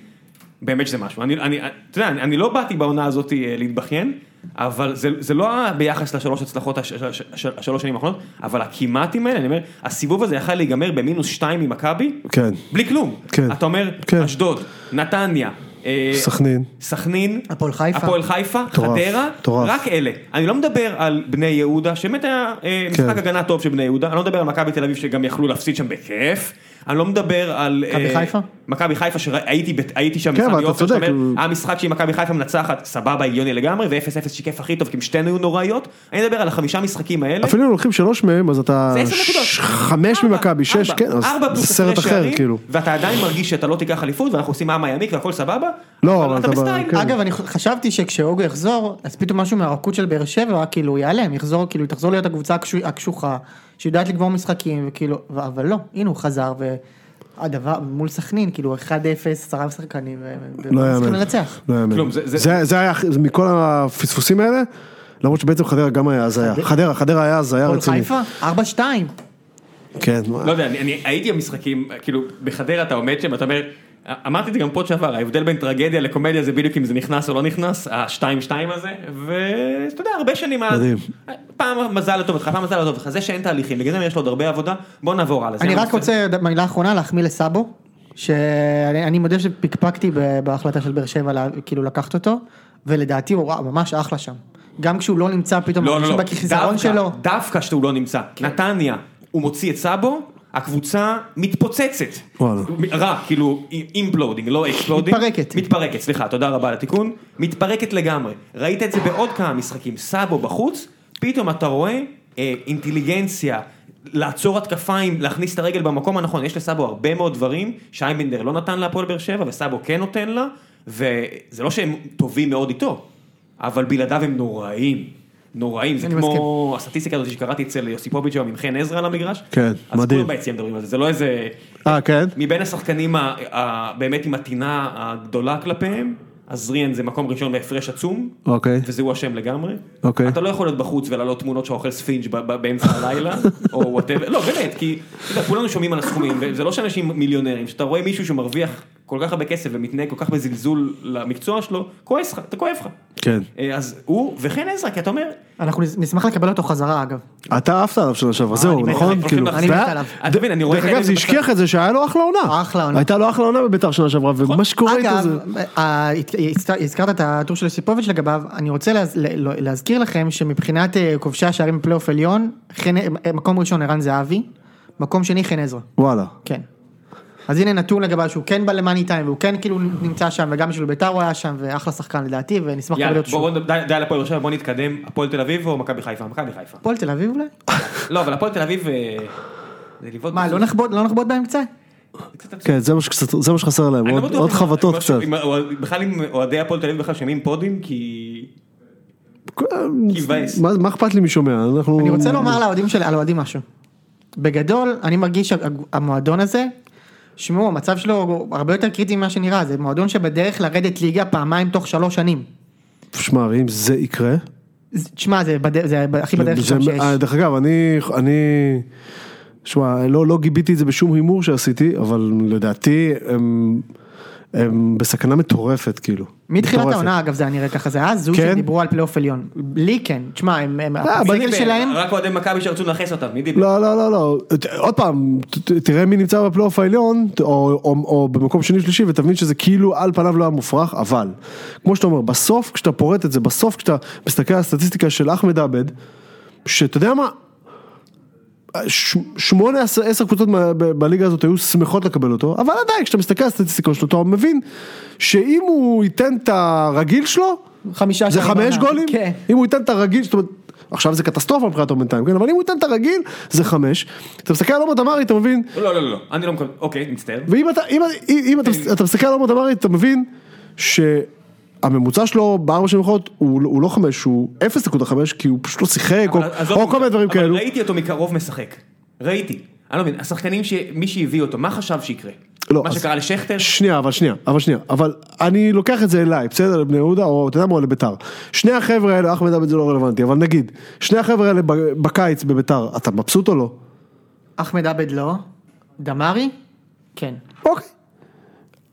A: באמת שזה משהו. אני, אני, אתה יודע, אני, אני לא באתי בעונה הזאת אה, להתבכיין, אבל זה, זה לא היה ביחס לשלוש הצלחות הש, הש, הש, השלוש שנים האחרונות, אבל הכמעטים האלה, אני אומר, הסיבוב הזה יכל להיגמר במינוס שתיים ממכבי,
B: כן.
A: בלי כלום.
B: כן.
A: אתה אומר,
B: כן.
A: אשדוד, נתניה. אה,
B: סכנין.
A: סכנין,
C: הפועל חיפה.
A: הפועל חיפה,
B: מטורף,
A: חדרה,
B: מטורף.
A: רק אלה. אני לא מדבר על בני יהודה, שבאמת היה אה, משחק
B: כן.
A: הגנה טוב של בני יהודה, אני לא מדבר על מכבי תל אביב שגם יכלו להפסיד שם בכיף, אני לא מדבר על...
C: מכבי
A: אה,
C: חיפה?
A: מכבי חיפה שהייתי בת- הייתי שם,
B: כן,
A: בסמי
B: אבל אתה
A: עופר, שאתה
B: צודק,
A: אומר,
B: הוא-
A: היה משחק שאם מכבי חיפה מנצחת, סבבה, הגיוני לגמרי, ו-0-0 שיקף הכי טוב, כי אם שתיהן היו נוראיות, אני מדבר על החמישה משחקים האלה.
B: אפילו אם לוקחים שלוש מהם, אז אתה...
A: זה עשר נקודות.
B: ש- חמש
A: ארבע,
B: ממכבי, שש,
A: ארבע.
B: כן, אז
A: ארבע פלוס
B: זה סרט
A: הפרש
B: אחר,
A: שערים,
B: כאילו.
A: ואתה עדיין מרגיש שאתה לא תיקח אליפות, ואנחנו עושים עם הימיק והכל סבבה, אבל
B: לא, אבל
A: אתה
B: אתה ב-
A: בסטייל.
B: כן.
C: אגב, אני חשבתי שכשהוגו יחזור, אז פתאום משהו מהרכות של באר שבע, כאילו, ייעלם, יחזור, כאילו, תחזור להיות הקבוצה הקשו- הקשוחה, שיודעת לגמור משחקים, וכאילו, ו- אבל לא, הנה הוא חזר, והדבר, מול סכנין, כאילו, 1-0, עשרה שחקנים,
B: לא
C: צריכים
B: יאמן.
C: לנצח.
B: לא יאמן.
A: כלום, זה- זה-
B: זה זה היה, הכי- זה מכל הפספוסים האלה, למרות שבעצם חדרה גם היה הזיה. חדרה, חדרה היה הזיה
C: הפועל
B: רצינית.
C: חיפה, 4-2.
B: כן, מה-
A: לא יודע, אני, אני הייתי במשחקים, כאילו, בחדרה אתה עומד שם, אתה אומר, אמרתי את זה גם פה שעבר, ההבדל בין טרגדיה לקומדיה זה בדיוק אם זה נכנס או לא נכנס, השתיים שתיים הזה, ואתה יודע, הרבה שנים אז,
B: מדהים.
A: פעם מזל לטובתך, פעם מזל לטובתך, זה שאין תהליכים, בגלל זה יש לו עוד הרבה עבודה, בוא נעבור הלאה. זה
C: אני רק
A: הנושא.
C: רוצה, מילה אחרונה, להחמיא לסאבו, שאני אני מודה שפקפקתי ב- בהחלטה של באר שבע, לה- כאילו, לקחת אותו, ולדעתי הוא וואו, ממש אחלה שם. גם כשהוא לא נמצא, פתאום
A: לא, לא,
C: מרגישים
A: לא,
C: בחיסרון
A: דווקא-
C: שלו. כן.
A: דווקא שהוא לא נמצא, נתניה, הוא מוציא את סאבו, הקבוצה מתפוצצת.
B: וואלה.
A: רע, כאילו אימפלודינג, לא אקספלודינג.
C: מתפרקת.
A: מתפרקת, סליחה, תודה רבה על התיקון. מתפרקת לגמרי. ראית את זה בעוד כמה משחקים, סאבו בחוץ, פתאום אתה רואה אה, אינטליגנציה. לעצור התקפיים, להכניס את הרגל במקום הנכון, יש לסאבו הרבה מאוד דברים שאייבנדר לא נתן להפועל באר שבע וסאבו כן נותן לה, וזה לא שהם טובים מאוד איתו, אבל בלעדיו הם נוראים, נוראים, זה
C: אני
A: כמו הסטטיסטיקה הזאת שקראתי אצל יוסיפוביץ' היום עם חן עזרא על המגרש,
B: כן,
A: אז
B: מדהים.
A: כולם ביציעים מדברים על זה, זה לא איזה
B: אה, כן?
A: מבין השחקנים ה- ה- באמת עם הטינה הגדולה כלפיהם, אז ריאן זה מקום ראשון בהפרש עצום,
B: אוקיי.
A: וזה הוא אשם לגמרי.
B: אוקיי.
A: אתה לא יכול להיות בחוץ ולהעלות תמונות שאתה אוכל ספינג' ב- ב- באמצע הלילה, או וואטאבר, לא באמת, כי אתה יודע, כולנו שומעים על הסכומים, וזה לא שאנשים מיליונרים, כשאתה רואה מישהו שמרוויח כל כך הרבה כסף ומתנהג כל כך בזלזול למקצוע שלו, כועס לך, אתה כואב לך.
B: כן.
A: אה, אז הוא וחן עזרא, כי אתה אומר,
C: אנחנו נשמח לקבל אותו חזרה אגב.
B: אתה עפת עליו שנה
C: אה,
B: שעברה,
A: אני
B: זהו,
A: מת
B: נכון?
A: עליו,
B: כאילו,
A: אני אה,
C: מת
B: זה היה-
C: עליו.
A: אתה מבין, אני רואה
B: דרך
A: חן
B: אגב,
A: עזרא
B: זה השכיח את זה שהיה לו אחלה עונה.
C: אחלה עונה.
B: הייתה לו אחלה עונה בביתר שנה שעברה,
A: נכון.
B: ומה שקורה איתו
C: אגב,
B: זה...
C: ה- הזכ- הזכרת את הטור של יוסיפוביץ' לגביו, אני רוצה להז- ל- ל- להזכיר לכם שמבחינת אה, כובשי השערים בפלייאוף עליון, חן- אה, מקום ראשון ערן זהבי, מקום שני חן עזרא,
B: וואלה.
C: כן. אז הנה נתון לגביו שהוא כן בא למאני טיים והוא כן כאילו נמצא שם וגם בשביל ביתר הוא היה שם ואחלה שחקן לדעתי ונשמח לקבל
A: יאללה,
C: אותו שוב.
A: בואו די די על הפועל באר שבע, בואו נתקדם, הפועל תל אביב או מכבי חיפה? מכבי חיפה.
C: הפועל תל אביב אולי?
A: לא, אבל הפועל תל אביב... אה, זה לבעוט
C: מה,
A: בסוף.
C: לא נחבוט- לא נחבוט בהם קצת?
A: קצת
B: כן, זה מה שקצת- זה מה שחסר להם,
A: אני לא
B: עוד-
A: בטוח
B: עוד
A: אם-
B: חבטות
A: אם-
B: קצת.
A: אם- בכלל אם אוהדי הפועל תל אביב בכלל שומעים פודים, כי...
D: כיבאס.
B: מה מה אכפת לי מי שומע? אנחנו...
C: אני רוצה לומר לאוהדים שלי, על אוהדים משהו. בגדול, אני מרגיש שהמועדון הזה, שמעו, המצב שלו הוא הרבה יותר קריטי ממה שנראה, זה מועדון שבדרך לרדת ליגה פעמיים תוך שלוש שנים.
B: שמע, אם זה יקרה...
C: זה- תשמע, זה, בד... זה הכי בדרך
B: זה-
C: שלו שיש.
B: אה, דרך אגב, אני... אני... שמע, לא, לא גיביתי את זה בשום הימור שעשיתי, אבל לדעתי הם, הם בסכנה מטורפת, כאילו.
C: מתחילת
B: מטורפת.
C: העונה, אגב, זה היה נראה ככה, זה היה זו
B: כן? אה,
C: שדיברו על פלייאוף עליון. לי כן, תשמע, הם, הם, הסגל
D: מי
C: שלהם,
D: דיבר? רק אוהדי מכבי שרצו לנכס אותם, מי דיבר?
B: לא, לא, לא, לא. ת- עוד פעם, ת- ת- תראה מי נמצא בפלייאוף העליון, ת- או, או, או במקום שני שלישי, ותבין שזה כאילו על פניו לא היה מופרך, אבל, כמו שאתה אומר, בסוף כשאתה פורט את זה, בסוף כשאתה מסתכל על הסטטיסטיקה של אחמד עבד, שאתה יודע מה, ש- שמונה, עשר עשר קבוצות מה- ב- בליגה הזאת היו שמחות לקבל אותו, אבל עדיין, כשאתה מסתכל על הסטטיסטיקה שלו, אתה מבין שאם הוא ייתן את הרגיל שלו,
C: חמישה
B: זה
C: שערים
B: חמש
C: בעונה.
B: גולים?
C: כן.
B: אם הוא ייתן את הרגיל, זאת אומרת, עכשיו זה קטסטרופה מבחינתו בינתיים, כן? אבל אם הוא ייתן את הרגיל, זה חמש. אתה מסתכל על עומר דמארי, אתה מבין?
D: לא, לא, לא, לא, אני לא מקבל, אוקיי, מצטער.
B: ואם אתה, אם, אם, אם אתה, אתה מסתכל על עומר דמארי, אתה מבין שהממוצע שלו בארבע שנים האחרונות הוא, הוא לא חמש, הוא 0.5, כי הוא פשוט לא שיחק, או,
D: אבל עזוב,
B: או כל מיני דברים
D: אבל
B: כאלו.
D: ראיתי אותו מקרוב משחק, ראיתי. אני לא מבין, השחקנים, ש- מי שהביא אותו, מה חשב שיקרה?
B: לא,
D: מה
B: אז-
D: שקרה לשכטר?
B: שנייה, אבל שנייה, אבל שנייה, אבל אני לוקח את זה אליי, בסדר, לבני יהודה, או אתה יודע מה, או לביתר. שני החבר'ה האלה, אחמד עבד זה לא רלוונטי, אבל נגיד, שני החבר'ה האלה ב- בקיץ בביתר, אתה מבסוט או לא?
C: אחמד עבד לא, דמארי? כן.
B: אוקיי.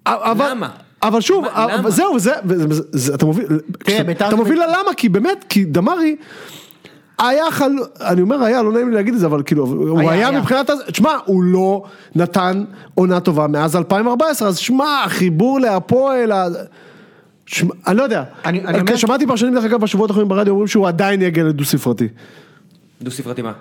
B: אבל,
D: למה?
B: אבל שוב,
D: מה-
B: אבל
D: למה?
B: זהו, זה, וזה- זה, זה, אתה מוביל, כשאתה-
C: כן, בית"ר
B: אתה
C: זה-
B: מוביל ללמה, כי באמת, כי דמרי, היה חל... אני אומר היה, לא נעים לי להגיד את זה, אבל כאילו, הוא
C: היה,
B: היה,
C: היה.
B: מבחינת... הז- תשמע, הוא לא נתן עונה טובה מאז 2014, אז שמע, החיבור להפועל, ה- שמע, אני לא יודע.
C: אני- אני אומר-
B: שמעתי פרשנים, דרך אגב, בשבועות האחרונים ברדיו, אומרים שהוא עדיין יגיע לדו ספרתי.
D: דו ספרתי מה?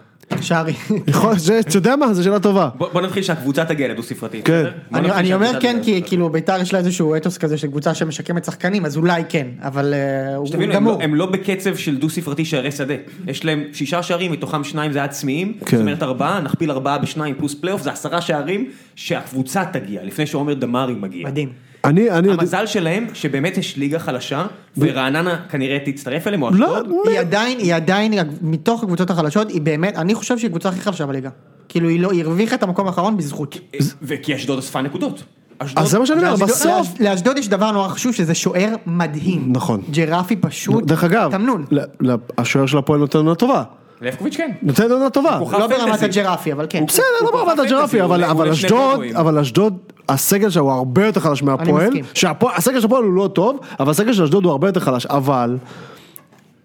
C: שערי.
B: יכול- זה- אתה יודע מה, זו שאלה טובה.
D: בוא בוא נתחיל שהקבוצה תגיע לדו ספרתי.
B: כן.
D: בסדר? בוא
C: אני,
D: נתחיל
C: אני אומר
D: שהקבוצה
C: כן,
D: תגיע
C: כי
D: לדו-ספרתי.
C: כאילו ביתר יש לה איזשהו אתוס כזה של קבוצה שמשקמת שחקנים, אז אולי כן, אבל אה, הוא
D: שתבינו, הם,
C: גמור.
D: לא, הם לא בקצב של דו ספרתי שערי שדה, יש להם שישה שערים, מתוכם שניים זה היה צמאים,
B: כן.
D: זאת אומרת ארבעה, נכפיל ארבעה בשניים פלוס פלייאוף, זה עשרה שערים שהקבוצה תגיע, לפני שעומר דמארי מגיע.
C: מדהים.
B: אני, אני...
D: המזל שלהם, שבאמת יש ליגה חלשה, ורעננה כנראה תצטרף אליהם, או
B: לא,
D: אשדוד,
C: היא עדיין, היא עדיין, מתוך הקבוצות החלשות, היא באמת, אני חושב שהיא הקבוצה הכי חלשה בליגה. כאילו היא לא, היא הרוויחה את המקום האחרון בזכות.
B: לא,
D: אה, וכי אשדוד אספה נקודות. אשדוד-
B: אז זה מה שאני אומר,
C: לאשדוד-
B: בסוף...
C: לאש- לאשדוד יש דבר נורא חשוב, שזה שוער מדהים.
B: נכון.
C: ג'רפי פשוט,
B: דרך אגב,
C: תמנון.
B: ל- ל- השוער של הפועל נותן עונה טובה.
D: לבקוביץ' כן.
B: נותן עונה טובה.
D: כוכב
C: לא ברמת
D: פנטזי.
C: הג'רפי, אבל כן.
B: בסדר,
D: הוא
B: לא
D: כוכב
B: ברמת
D: פנטזי,
B: הג'רפי,
D: הוא
B: אבל
D: עולה- הוא
B: אבל
D: עולה שני
B: אשדוד,
D: גולים.
B: אבל אשדוד, הסגל שלה הוא הרבה יותר חלש מהפועל.
C: מסכים.
B: שהפועל- הסגל של הפועל הוא לא טוב, אבל הסגל של אשדוד הוא הרבה יותר חלש, אבל...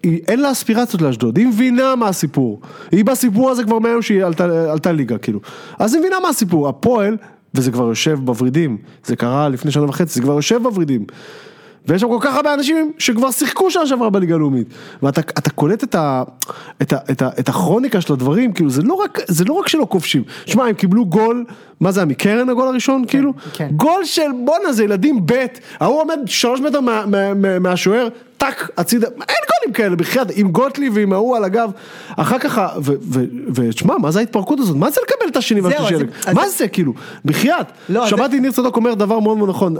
B: היא, אין לה אספירציות לאשדוד, היא מבינה מה הסיפור. היא בסיפור הזה כבר מהיום שהיא עלתה, עלתה ליגה, כאילו. אז היא מבינה מה הסיפור, הפועל, וזה כבר יושב בוורידים, זה קרה לפני שנה וחצי, זה כבר יושב בוורידים. ויש שם כל כך הרבה אנשים שכבר שיחקו שנה שעברה בליגה הלאומית. ואתה אתה קולט את, ה, את, ה, את, ה, את הכרוניקה של הדברים, כאילו זה לא רק, זה לא רק שלא כובשים. שמע, הם קיבלו גול, מה זה היה, מקרן הגול הראשון, כאילו?
C: כן.
B: גול של בואנה זה ילדים ב', ההוא עומד שלוש מטר מה, מה, מה, מהשוער, טאק, הצידה, אין גולים כאלה בחייאת, עם גוטלי ועם ההוא על הגב. אחר כך, ה- ו- ו- ותשמע, מה זה ההתפרקות הזאת? מה זה לקבל את השני
C: זהו,
B: והשלישי?
C: אז-
B: האלה? מה זה כאילו? בחייאת.
C: לא, אז-
B: שמעתי ניר צדוק אומר דבר מאוד מאוד נכון,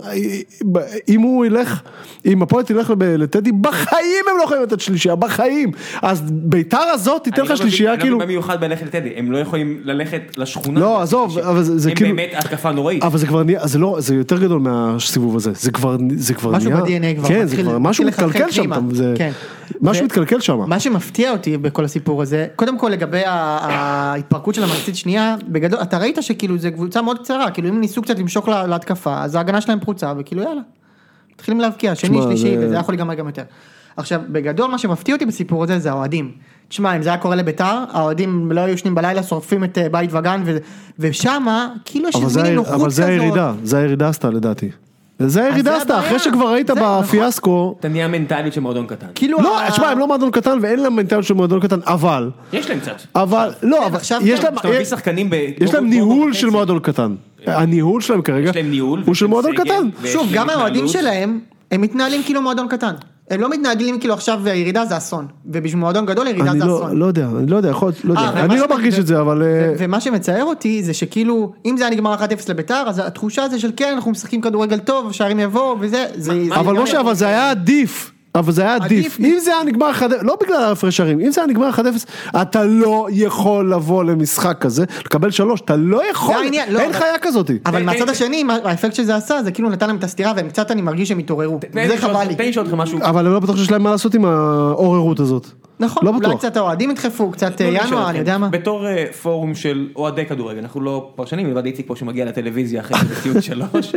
B: אם הוא ילך, אם הפועל תלך לב- לטדי, בחיים הם לא יכולים לתת שלישייה, בחיים. אז ביתר הזאת תיתן
D: אני לא
B: לך
D: מבין-
B: שלישייה
D: אני לא
B: כאילו...
D: מבין במיוחד בללכת לטדי, הם לא יכולים ללכת לשכונה.
B: לא, עזוב, אבל זה- זה כאילו-
D: הם באמת התקפה נוראית.
B: אבל זה כבר נהיה, זה לא, זה יותר גדול מהסיבוב הזה, זה כבר, זה כבר
C: משהו
B: נהיה,
C: ב-DNA כבר
B: כן, זה
C: מתחיל-
B: כבר, משהו
C: מתחיל
B: מתקלקל
C: לחלחל
B: שם,
C: פנימה.
B: אתה- זה,
C: כן.
B: משהו
C: ו-
B: מתקלקל שם,
C: מה שמפתיע אותי בכל הסיפור הזה, קודם כל לגבי ה- ההתפרקות של המחצית שנייה, בגדול, אתה ראית שכאילו זה קבוצה מאוד קצרה, כאילו אם ניסו קצת למשוך לה- להתקפה, אז ההגנה שלהם פרוצה, וכאילו יאללה. מתחילים להבקיע, שני,
B: תשמע,
C: שלישי,
B: זה-
C: וזה יכול להיגמר גם יותר. עכשיו, בגדול מה שמפתיע אותי בסיפור הזה זה האוהדים. תשמע, אם זה היה קורה לביתר, האוהדים לא היו ישנים בלילה, שורפים את אה, בית וגן, ו- ושמה, כאילו יש
B: אבל
C: איזה
B: זה,
C: מין
B: ה-
C: נוחות כזאת.
B: אבל זה הירידה, זה הירידה עשתה לדעתי, זה
C: זה
B: הירידה עשתה,
C: הבעיה.
B: אחרי שכבר ראית
C: זהו, נכון.
B: בפיאסקו,
D: אתה נהיה מנטליות של מועדון קטן.
C: כאילו
B: לא,
C: ה-
B: תשמע, הם לא מועדון קטן ואין להם מנטליות של מועדון קטן, אבל,
D: יש להם קצת.
B: אבל, לא, אבל
C: עכשיו
B: יש
C: כן,
B: להם,
D: כשאתה מביא
B: יש-
D: שחקנים ב...
B: יש להם
D: בו-
B: ניהול
D: וחצי.
B: של מועדון קטן. הניהול שלהם כרגע,
D: יש להם ניהול,
B: הוא
D: ויש
B: של
D: להם
B: מועדון
D: סגל,
B: קטן.
D: ויש
C: שוב,
D: להם
C: גם האוהדים
D: התנהלות.
C: שלהם, הם מתנהלים כאילו מועדון קטן. הם לא מתנהלים כאילו עכשיו הירידה זה אסון. ובשביל מועדון גדול ירידה
B: אני
C: זה
B: לא,
C: אסון.
B: לא יודע, אני לא יודע, יכול להיות, לא
C: אה,
B: יודע,
C: ומה
B: אני לא
C: ש-
B: מרגיש
C: ו-
B: את זה, אבל... אה,
C: ו- ומה שמצער אותי זה שכאילו, אם זה היה נגמר 1-0 לביתר, אז התחושה זה של כן, אנחנו משחקים כדורגל טוב, שערים יבואו וזה, זה... זה
B: אבל
C: גם
B: משה,
C: יכול-
B: אבל זה היה עדיף. אבל זה היה עדיף.
C: עדיף.
B: אם זה היה נגמר 1-0, לא בגלל ההפרש שערים, אם זה היה נגמר 1-0, אתה לא יכול לבוא למשחק כזה, לקבל 3, אתה לא יכול,
C: זה העניין, לא,
B: אין
C: אבל-
B: חיה כזאת.
C: אבל
A: תן-
C: מהצד
A: תן-
C: השני, מה- האפקט שזה עשה, זה כאילו נתן להם את הסטירה, והם קצת, אני מרגיש שהם התעוררו.
A: תן
C: זה
A: לי לשאול-
C: חבל לי.
A: תן לי לשאול אותך משהו.
B: אבל אני לא בטוח שיש להם מה לעשות עם העוררות הזאת.
C: נכון,
B: לא
C: אולי
B: בטוח. לא כן.
C: קצת האוהדים ידחפו, קצת אה,
A: תנו לי לשאול
C: ינואר,
A: אתכם.
C: אני יודע מה.
A: בתור אה, פורום של אוהדי כדורגל, אנחנו לא פרשנים, מלבד איציק פה שמגיע לטלוויזיה אחרי זה בציון שלוש.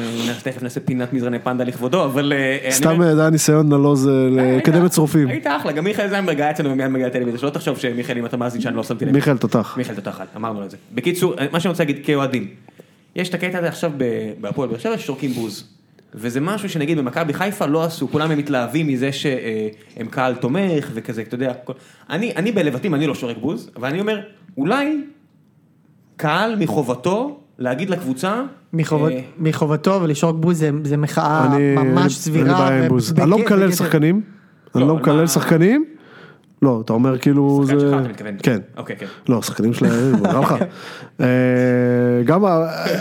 A: אה, תכף נעשה פינת מזרני פנדה לכבודו, אבל... אה, אני
B: סתם
C: כן,
A: אומר-
B: אה, זה היה ניסיון נלוז אה,
A: היית-
B: לקדם את צרופים.
A: היית אחלה, גם מיכאל זנדברג היה אצלנו ומיד מגיע לטלוויזיה, שלא תחשוב שמיכאל אם אתה מאזין שאני לא שמתי לב.
B: מיכאל תותח.
A: מיכאל תותחל, אמרנו את זה. בקיצור, אה, מה שאני רוצה להגיד כאוהדים, יש את הקטע הזה עכשיו ב- בהפועל באר שבע ששורקים בוז. וזה משהו שנגיד במכבי חיפה לא עשו, כולם הם מתלהבים מזה שהם קהל תומך וכזה, אתה יודע. כל- אני, אני בלבטים, אני לא שורק בוז, אבל אני אומר, אולי קהל מחובתו להגיד לקבוצה...
C: מחובות-
A: אה,
C: מחובתו ולשרוק בוז זה- זה מחאה
B: אני-
C: ממש
B: אין לי
C: סבירה.
B: בעיה עם
C: ו-
B: בוז.
C: בגדר-
B: אני לא מקלל
C: בגדר.
B: שחקנים, אני
A: לא,
B: לא
A: אבל
B: מקלל
A: מה-
B: שחקנים. לא, אתה אומר כאילו
A: שחקן
B: זה...
A: שלך, אתה מתכוון.
B: כן.
A: אוקיי, כן.
B: לא, שחקנים שלהם, רע לך. אה, גם, ה-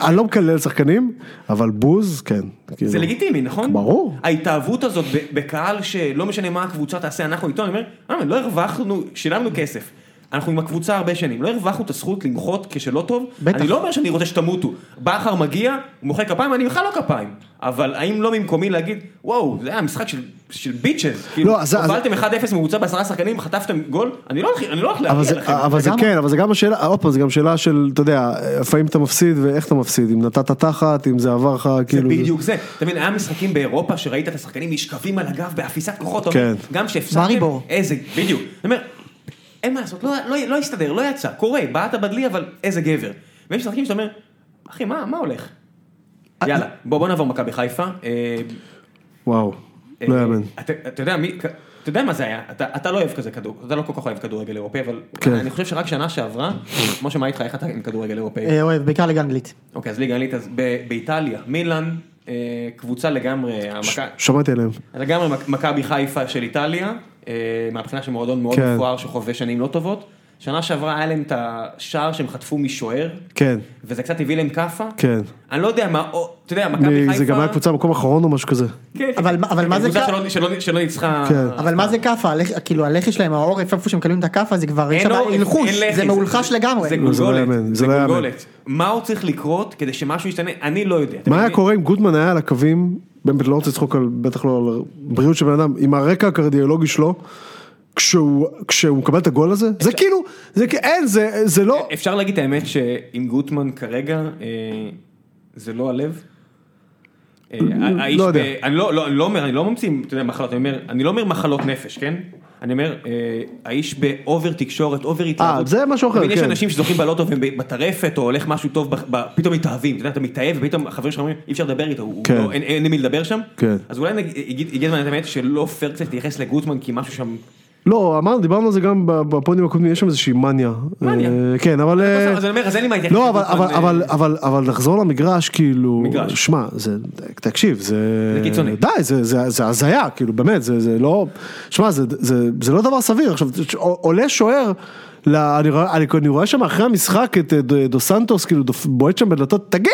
B: אני לא מקלל שחקנים, אבל בוז, כן. כאילו.
A: זה לגיטימי, נכון?
B: ברור.
A: ההתאהבות הזאת ב- בקהל שלא משנה מה הקבוצה תעשה, אנחנו איתו, אני אומר, "אה, לא הרווחנו, שילמנו כסף. אנחנו עם הקבוצה הרבה שנים, לא הרווחנו את הזכות למחות כשלא טוב.
C: בטח.
A: אני לא אומר שאני רוצה שתמותו. בכר מגיע, הוא מוחא כפיים, אני בכלל לא כפיים. אבל האם לא ממקומי להגיד, וואו, זה היה משחק של, של ביצ'ז. כאילו,
B: לא, אז- אז-
A: הובלתם 1-0 ממוצע בעשרה שחקנים, חטפתם גול, אני לא הולך- אני לא הולך
B: אבל
A: להגיע
B: זה,
A: לכם.
B: אבל זה
C: לגמרי.
B: כן, אבל זה גם השאלה, עוד פעם, זה גם שאלה של, אתה יודע, לפעמים אתה מפסיד ואיך אתה מפסיד, אם נתת תחת, אם זה עבר לך,
A: זה
B: כאילו...
A: בדיוק זה, אתה מבין, היה משחקים באירופה שראית את השחקנים נשכבים על הגב באפיסת כוחות, אתה אומר,
B: כן.
A: גם שהפסדתם,
C: מאריבור.
A: איזה, בדיוק, אני אומר, אין מה לעשות, לא- לא- לא הסתדר, לא יצא, קורה, בעט בדלי, אבל איזה גבר, ויש משחקים שאתה אומר, אחי, מה מה הולך? יאללה, בוא בוא נעבור מכבי חיפה, אה,
B: וואו, לא
A: אה,
B: יאמן.
A: אתה אתה יודע מי, אתה יודע מה זה היה, אתה אתה לא אוהב כזה כדור, אתה לא כל כך אוהב כדורגל אירופאי, אבל
B: כן.
A: אני חושב שרק שנה שעברה, כמו שמה איתך, איך אתה עם כדורגל אירופאי?
C: אה, אוהב, בעיקר ליגה אנגלית.
A: אוקיי, אז ליגה אנגלית, אז ב- באיטליה, מילאן, אה, קבוצה לגמרי,
B: ש-
A: המכ-
B: שמעתי עליהם.
A: לגמרי מכ- מכבי חיפה של איטליה, אה, מהבחינה של מועדון מאוד
B: כן.
A: מפואר שחווה שנים לא טובות. שנה שעברה היה להם את השער שהם חטפו משוער,
B: כן,
A: וזה קצת הביא להם כאפה.
B: כן.
A: אני לא יודע מה, או- אתה יודע, מכבי
B: מי-
A: חיפה...
B: זה גם היה קבוצה במקום אחרון או משהו כזה.
A: כן,
C: אבל מה- אבל
A: כן,
C: מה זה
A: קבוצה
C: כ-
A: שלא- שלא- שלא ניצחה...
B: כן.
C: אבל מה זה כאפה? הלך- כאילו הלחי שלהם, העורף, איפה שהם מקבלים את הכאפה, זה כבר, יש
A: אין
C: שם
A: עורף,
C: הלחוש,
A: אין לחי,
C: זה מאולחש לגמרי.
A: זה
B: לא, זה לא יאמן,
A: גולגולת,
B: זה
A: זה
B: לא יאמן.
A: גולגולת. מה עוד צריך לקרות כדי שמשהו ישתנה? אני לא יודע. אתה
B: מה היה
A: מבין?
B: קורה אם גוטמן היה על הקווים, באמת לא רוצה לצחוק על, בטח לא על בריאות של בן אדם, עם הרקע הקרדיולוגי שלו, כשהוא, כשהוא מקבל את הגול הזה, זה כאילו, זה כאילו, אין, זה, זה לא,
A: אפשר להגיד את האמת שעם גוטמן כרגע אה, זה לא הלב. אה, האיש
B: לא יודע.
A: ב- אני לא, לא, אני לא אומר, אני לא ממציא אתה יודע, מחלות, אני אומר, אני לא אומר מחלות נפש, כן? אני אומר, אה, האיש באובר תקשורת, אובר התלהבות.
B: אה, זה משהו אחר,
A: תמיד יש
B: כן.
A: אנשים שזוכים בלוטו והם ב- בטרפת, או הולך משהו טוב, ב- ב- פתאום מתאהבים, אתה יודע, אתה מתאהב, ופתאום החברים שלך אומרים, אי אפשר לדבר איתו, הוא
B: כן.
A: לא- אין- אין עם מי לדבר שם.
B: כן.
A: אז אולי נגיד- הגיע הגיע הזמן, האמת, שלא פייר קצת להתייחס לגוטמן, כי משהו שם...
B: לא, אמרנו, דיברנו על זה גם בפודים הקודמים, יש שם איזושהי מניה.
A: מניה.
B: אה, כן, אבל... אה,
A: אז אני אומר, אז אין לי מה להתייחס.
B: לא, אבל,
A: לגוטמן,
B: אבל, אבל,
A: אה,
B: אבל, אבל נחזור למגרש, כאילו,
A: מגרש.
B: שמע, זה, תקשיב, זה,
A: זה קיצוני.
B: די, זה, זה, זה הזיה, כאילו, באמת, זה, זה לא, שמע, זה, זה, זה לא דבר סביר, עכשיו, עולה שוער, ל, אני, רואה- אני, אני רואה שם אחרי המשחק את אה, דו- דו סנטוס, כאילו, דופ- בועט שם בדלתות, תגיד,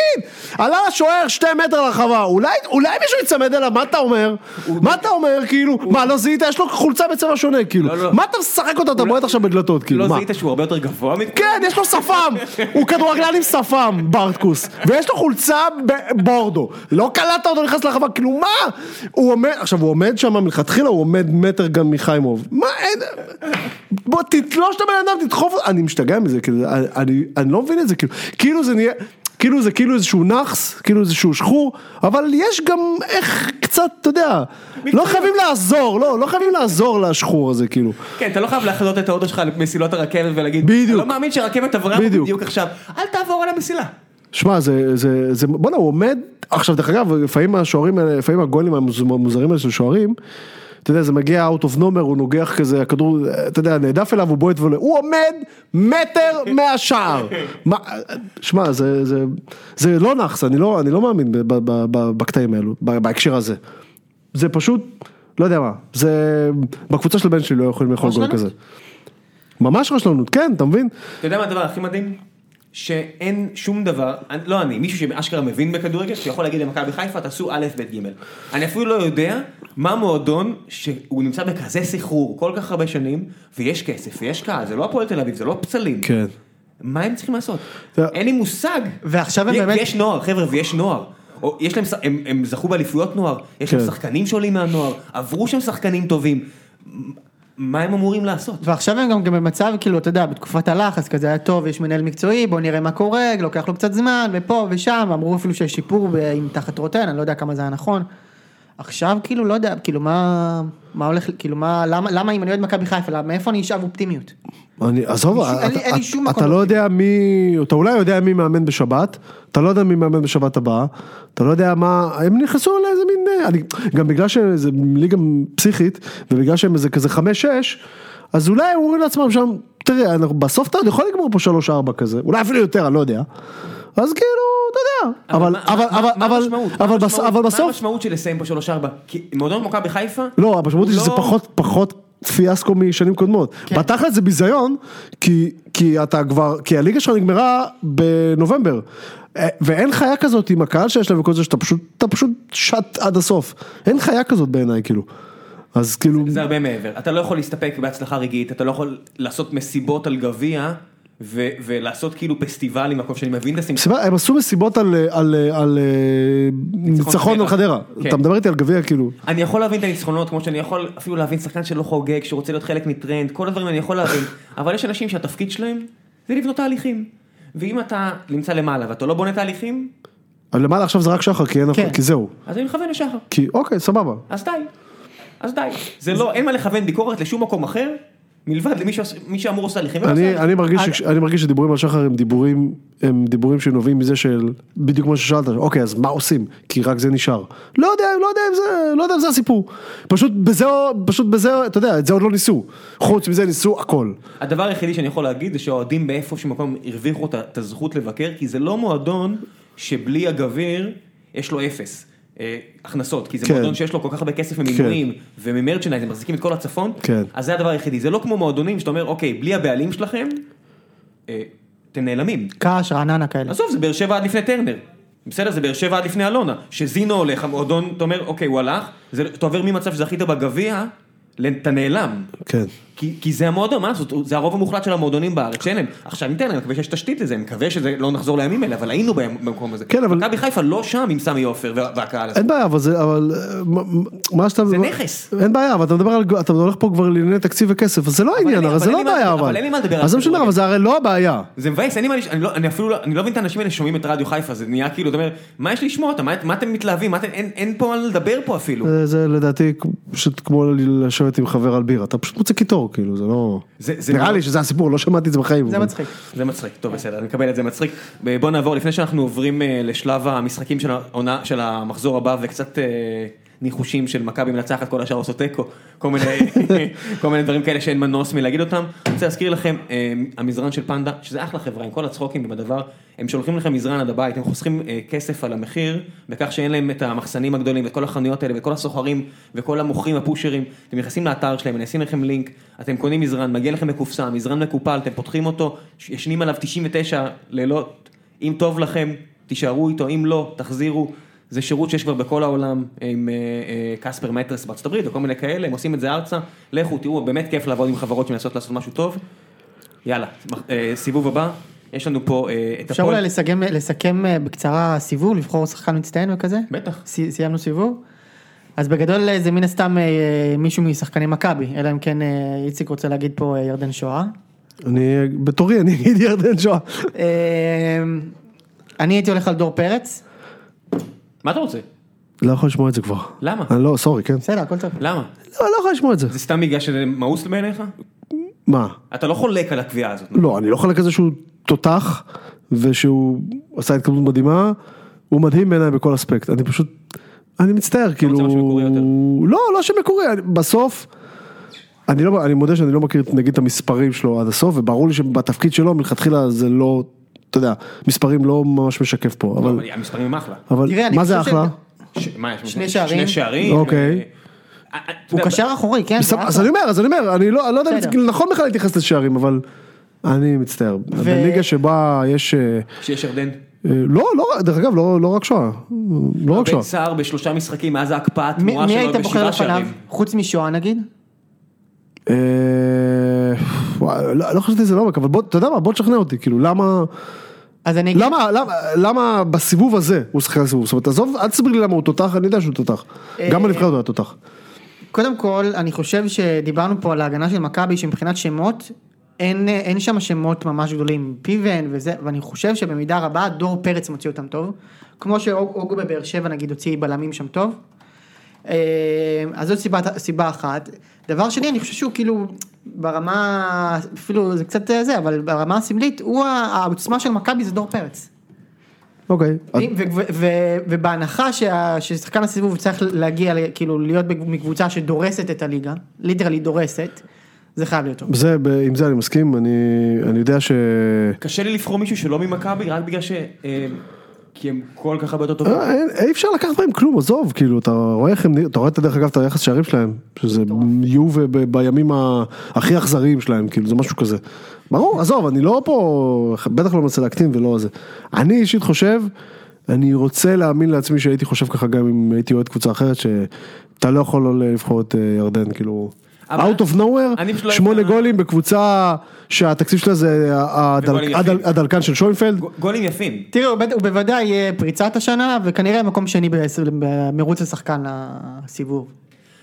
B: עלה השוער שתי מטר לרחבה, אולי, אולי מישהו יצמד אליו, מה אתה אומר? מה אתה אומר, כאילו, מה, לא זיהית, יש לו חולצה בצבע שונה, כאילו,
A: לא, לא.
B: מה אתה משחק אותה, אתה בועט עכשיו בדלתות, כאילו,
A: לא
B: מה?
A: זיהית שהוא הרבה יותר גבוה מכולם?
B: כן, יש לו שפם, הוא כדורגלן עם שפם, ברטקוס, ויש לו חולצה בבורדו, לא קלטת אותו נכנס לחווה, כאילו מה? הוא עומד, עכשיו הוא עומד שם מלכתחילה, הוא עומד מטר גם מחיימוב, מה אין, בוא תתלוש את הבן אדם, תדחוף, אני משתגע מזה, כאילו, אני- אני, אני לא מבין את זה, כאילו, כאילו זה נהיה, כאילו זה כאילו איזשהו נאחס, כאילו איזשהו שחור, אבל יש גם איך קצת, אתה יודע, לא חייבים לעזור, לא, לא חייבים לעזור לשחור הזה, כאילו.
A: כן, אתה לא חייב להחזות את ההודו שלך על מסילות הרכבת ולהגיד,
B: בדיוק.
A: אני לא מאמין שהרכבת עברה
B: בדיוק.
A: בדיוק. בדיוק עכשיו, אל תעבור על המסילה.
B: שמע, זה, זה, זה, בואנה, הוא עומד, עכשיו דרך אגב, לפעמים השוערים האלה, לפעמים הגולים המוז- המוזרים האלה של שוערים, אתה יודע, זה מגיע out of number, הוא נוגח כזה, הכדור, אתה יודע, נעדף אליו, הוא בועט ועולה, הוא עומד מטר מהשער. מה, שמע, זה, זה, זה לא נאחס, אני לא, אני לא מאמין ב- ב- ב- ב- בקטעים האלו, ב- בהקשר הזה. זה פשוט, לא יודע מה, זה, בקבוצה של הבן שלי לא יכולים לאכול גול
C: רשלנות.
B: כזה. ממש רשלנות, כן, אתה מבין?
A: אתה יודע מה הדבר הכי מדהים? שאין שום דבר, אני- לא אני, מישהו שבאשכרה מבין בכדורגל, שיכול להגיד למכבי חיפה, תעשו א', ב', ג'. אני אפילו לא יודע מה מועדון שהוא נמצא בכזה סחרור כל כך הרבה שנים, ויש כסף, ויש קהל, זה לא הפועל תל אביב, זה לא פצלים.
B: כן.
A: מה הם צריכים לעשות?
B: אתה-
A: אין לי מושג.
C: ועכשיו הם
A: י-
C: באמת-
A: יש נוער, חבר'ה, ויש נוער. או יש להם, ש- הם, הם זכו באליפויות נוער, יש להם
B: כן.
A: שחקנים שעולים מהנוער, עברו שם שחקנים טובים. מה הם אמורים לעשות?
C: ועכשיו הם גם, גם במצב, כאילו, אתה יודע, בתקופת הלחץ כזה היה טוב, יש מנהל מקצועי, בוא נראה מה קורה, לוקח לו קצת זמן, ופה ושם, אמרו אפילו שיש שיפור ב- עם תחת רוטן, אני לא יודע כמה זה היה נכון. עכשיו, כאילו, לא יודע, כאילו, מה, מה הולך, כאילו, מה, למה, למה אם אני אוהד מכבי חיפה, למה- מאיפה אני אשאב אופטימיות?
B: אני, עזוב,
C: אין לי-
B: אתה-
C: אין לי שום
B: אתה-
C: מקום
B: אתה לא
C: אופטימי.
B: יודע מי, אתה אולי יודע מי מאמן בשבת, אתה לא יודע מי מאמן בשבת הבאה, אתה לא יודע מה, הם נכנסו לאיזה מין, אה, אני, גם בגלל שזה ליגה פסיכית, ובגלל שהם איזה כזה 5-6, אז אולי הם אומרים לעצמם שם, תראה, אנחנו, בסוף אתה יכול לגמור פה 3-4 כזה, אולי אפילו יותר, אני לא יודע, אז כאילו, אתה יודע, אבל,
A: מה-
B: אבל,
A: מה-
B: אבל,
A: מה
B: אבל,
A: המשמעות? מה
B: אבל, בס-
A: המשמעות-
B: אבל
A: מה
B: בסוף,
A: המשמעות של לסיים פה 3-4? כי מועדון כמו מכבי חיפה...
B: לא, המשמעות היא
A: הוא
B: שזה
A: לא-
B: פחות, פחות פיאסקו משנים קודמות.
C: כן.
B: בתכל'ס זה ביזיון, כי, כי אתה כבר, כי הליגה שלך נגמרה בנובמבר. אה, ואין חיה כזאת עם הקהל שיש לה וכל זה, שאתה פשוט, אתה פשוט שט עד הסוף. אין חיה כזאת בעיניי, כאילו. אז כאילו,
A: זה הרבה מעבר. אתה לא יכול להסתפק בהצלחה רגעית, אתה לא יכול לעשות מסיבות על גביע, ו- ולעשות כאילו פסטיבל עם הכל שאני מבין את הסימפ...
B: מסיבה- הם עשו מסיבות על, אה, על, אה, על אה, ניצחון על
A: חדרה.
B: חדרה.
A: כן.
B: אתה מדבר איתי על גביע, כאילו.
A: אני יכול להבין את הניצחונות, כמו שאני יכול אפילו להבין שחקן שלא חוגג, שרוצה להיות חלק מטרנד, כל הדברים אני יכול להבין, אבל יש אנשים שהתפקיד שלהם זה לבנות תהליכים. ואם אתה נמצא למעלה ואתה לא בונה תהליכים,
B: אבל למעלה עכשיו זה רק שחר, כי, אין,
C: כן.
B: כי זהו.
A: אז אני מכוון לשחר.
B: כי אוקיי, סבבה.
A: אז די. אז די. זה לא, אין מה לכוון ביקורת לשום מקום אחר, מלבד למי שעוש- מי שאמור עושה הליכים. ולא עושה
B: אני,
A: הליכים.
B: אני, מרגיש ש, אני מרגיש שדיבורים על שחר הם דיבורים, הם דיבורים שנובעים מזה של, בדיוק כמו ששאלת, אוקיי, אז מה עושים? כי רק זה נשאר. לא יודע, לא יודע אם זה, לא יודע אם זה הסיפור. פשוט בזה, פשוט בזה, אתה יודע, את זה עוד לא ניסו. חוץ מזה ניסו הכל.
A: הדבר היחידי שאני יכול להגיד זה שהאוהדים באיפשהו מקום הרוויחו את ה- את הזכות לבקר, כי זה לא מועדון שבלי הגביר יש לו אפס. אה, הכנסות, כי זה
B: כן.
A: מועדון שיש לו כל כך הרבה כסף ממינויים וממרצ'נייז, הם מחזיקים את כל הצפון,
B: כן.
A: אז זה הדבר היחידי, זה לא כמו מועדונים שאתה אומר, אוקיי, בלי הבעלים שלכם, אה, אתם נעלמים.
C: קש, רעננה כאלה.
A: עזוב, זה באר שבע עד לפני טרנר. בסדר, זה באר שבע עד לפני אלונה. שזינו הולך, המועדון, אתה אומר, אוקיי, הוא הלך, זה, אתה עובר ממצב שזכית בגביע, ל- אתה נעלם.
B: כן.
A: כי, כי זה המועדון, מה לעשות, זה הרוב המוחלט של המועדונים בארץ שאין להם. עכשיו ניתן, אני מקווה שיש תשתית לזה, אני מקווה שזה לא נחזור לימים האלה, אבל היינו בהם- במקום הזה.
B: כן, אבל-
A: מכבי חיפה לא שם עם סמי עופר וה- והקהל הזה.
B: אין בעיה, אבל זה, אבל, אה, מה- מה שאתה... זה
A: נכס.
B: אין בעיה, אבל אתה מדבר על, אתה הולך פה כבר לענייני תקציב וכסף, אז זה לא העניין,
A: אין לי-
B: הרי
A: אבל
B: זה לא
A: אין לי מה-
B: הבעיה, אבל.
A: אבל אין לי מה לדבר על
B: אז זה משנה,
A: כדורגל.
B: אבל זה הרי לא הבעיה.
A: זה מבאס, אין לי מה, לש- אני, לא, אני אפילו לא, אני לא מבין את האנשים האלה ששומעים את רדיו חיפה, זה נהיה כאילו, אתה אומר, מה יש לשמוע אותם, מה, מה אתם מתלהבים, מה אתם, אין, אין פה מה לדבר פה אפילו.
B: זה- אה, זה לדעתי פשוט כמו לשבת עם חבר על בירה, אתה פשוט רוצה קיטור, כאילו, זה לא...
A: זה- זה
B: נראה
A: מאוד-
B: לי שזה הסיפור, לא שמעתי את זה בחיים.
C: זה
B: אבל-
C: מצחיק.
A: זה מצחיק, טוב בסדר, אני מקבל את זה מצחיק. בוא נעבור, לפני שאנחנו עוברים אה, לשלב המשחקים של העונה, של המחזור הבא וקצת אה, ניחושים של מכבי מנצחת, כל השאר עושות תיקו, כל מיני, כל מיני דברים כאלה שאין מנוס מלהגיד אותם. אני רוצה להזכיר לכם, אה, המזרן של פנדה, שזה אחלה חברה, עם כל הצחוקים עם הדבר, הם שולחים לכם מזרן עד הבית, הם חוסכים אה, כסף על המחיר, בכך שאין להם את המחסנים הגדולים ואת כל החנויות האלה ואת כל הסוחרים וכל המוכרים, הפושרים, אתם נכנסים לאתר שלהם, אני אשים לכם לינק, אתם קונים מזרן, מגיע לכם בקופסה, מזרן מקופל, אתם פותחים אותו, ישנים עליו 99 לילות, אם טוב לכם, תישארו איתו, אם לא, תחזירו. זה שירות שיש כבר בכל העולם, עם אה, אה, קספר מטרס בארצות הברית וכל מיני כאלה, הם עושים את זה ארצה, לכו, תראו, באמת כיף לעבוד עם חברות שמנסות לעשות משהו טוב. יאללה, אה, סיבוב הבא, יש לנו פה אה, את
C: אפשר
A: הפועל.
C: אולי לסכם, לסכם אה, בקצרה סיבוב, לבחור שחקן מצטיין וכזה?
A: בטח.
C: סי- סיימנו סיבוב? אז בגדול אה, זה מן הסתם אה, מישהו משחקני מכבי, אלא אם כן אה, איציק רוצה להגיד פה אה, ירדן שואה.
B: אני, בתורי, אני אגיד ירדן שואה.
C: אה, אני הייתי הולך על דור פרץ,
A: מה אתה רוצה?
B: לא יכול לשמוע את זה כבר.
A: למה?
B: אני לא, סורי, כן.
C: בסדר, הכל טוב.
A: למה?
B: לא, לא יכול לשמוע את זה.
A: זה סתם בגלל שזה מאוס בעיניך?
B: מה?
A: אתה לא חולק על הקביעה הזאת.
B: לא, אני לא חלק איזה שהוא תותח, ושהוא עשה התקדמות מדהימה, הוא מדהים בעיניי בכל אספקט, אני פשוט, אני מצטער, כאילו,
A: משהו מקורי יותר.
B: לא, לא שמקורי, אני- בסוף, אני לא, אני מודה שאני לא מכיר נגיד את המספרים שלו עד הסוף, וברור לי שבתפקיד שלו מלכתחילה זה לא, אתה יודע, מספרים לא ממש משקף פה, אבל,
A: אבל המספרים הם אחלה.
B: אבל,
C: תראה, אני
B: מה זה
C: חושב כן,
B: אחלה?
A: ש- מה יש?
C: שני שערים.
A: שני שערים.
B: אוקיי.
A: אה, אה, אתה
C: הוא
A: יודע,
C: קשר אחורי, כן?
B: בסדר,
C: זה
B: אז
C: אחלה.
B: אני אומר, אז אני אומר, אני לא, אני לא יודע אם זה
C: בסדר.
B: נכון בכלל להתייחס לשערים, אבל אני מצטער. בליגה שבה יש... אה,
A: שיש ירדן.
B: אה, לא, לא, דרך אגב, לא לא רק שואה. לא רק שואה.
A: בן סער בשלושה משחקים מאז ההקפאה
C: מי
A: התמורה
C: מי
A: שלו
C: היית בוחר
A: בשבעה
C: לפניו?
A: שערים.
C: חוץ משואה נגיד?
B: אה, וואי, לא לא חשבתי על זה לעומק, אבל בוא, אתה יודע מה, בוא תשכנע אותי, כאילו, למה...
C: אז
A: לא,
C: אני אגיד...
B: למה, למה, למה בסיבוב הזה הוא שיחק לסיבוב? זאת אומרת, עזוב, אל תסביר לי למה הוא תותח, אני יודע שהוא תותח. גם בנבחרת הוא היה תותח.
C: קודם כל, אני חושב שדיברנו פה על ההגנה של מכבי, שמבחינת שמות, אין, אין שם שמות ממש גדולים, פיבן וזה, ואני חושב שבמידה רבה דור פרץ מוציא אותם טוב, כמו שאוגו בבאר שבע נגיד הוציא בלמים שם טוב. אה, אז זאת סיבה, סיבה אחת. דבר שני, אני חושב שהוא כאילו ברמה, אפילו זה קצת אה, זה, אבל ברמה הסמלית, הוא ה- העוצמה של מכבי זה דור פרץ.
B: אוקיי. אז-
C: ו- ו- ו- ובהנחה שה- ששחקן הסיבוב צריך להגיע, ל- כאילו להיות בק- מקבוצה שדורסת את הליגה, ליטרלי דורסת, זה חייב להיות טוב.
B: זה, ב- עם זה אני מסכים, אני, אני יודע ש...
A: קשה לי לבחור מישהו שלא ממכבי רק בגלל ש... אה, כי הם כל כך הרבה יותר טובים.
B: אה, אין- אי אפשר לקחת מהם כלום, עזוב, כאילו, אתה רואה איך הם, נראים- אתה רואה את הדרך אגב, את היחס שערים שלהם, שזה יהיו ב- בימים ה- הכי אכזריים שלהם, כאילו, זה משהו כזה. ברור, עזוב, אני לא פה, בטח לא מנסה להקטין ולא זה. אני אישית חושב, אני רוצה להאמין לעצמי שהייתי חושב ככה גם אם הייתי אוהד קבוצה אחרת, שאתה לא יכול לא לבחור את אה, ירדן, כאילו...
A: אבל-
B: Out of
A: אני פשוט
B: nowhere,
A: לא
B: שמונה
A: יודע-
B: גולים בקבוצה שהתקציב שלה זה הדל-
A: וגולים
B: הדל-
A: יפים.
B: הדלקן של שוינפלד.
A: גו- גולים יפים.
C: תראו, הוא בד- הוא בוודאי יהיה פריצת השנה, וכנראה מקום שני בעשר- במרוץ לשחקן הסיבוב.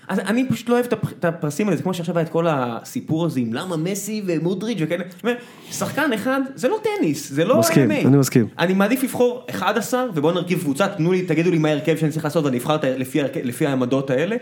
A: אז אני פשוט לא אוהב את הפ- את הפרסים האלה, זה כמו שעכשיו היה את כל הסיפור הזה עם למה מסי ומודריץ' וכאלה. זאת אומרת, שחקן אחד זה לא טניס, זה לא
B: מסכים,
A: MMA.
B: אני מסכים.
A: אני מעדיף לבחור 11 ובואו נרכיב קבוצה, תנו לי, תגידו לי מה ההרכב שאני צריך לעשות ואני אבחר את ה- לפי ההרכב- לפי העמדות האלה.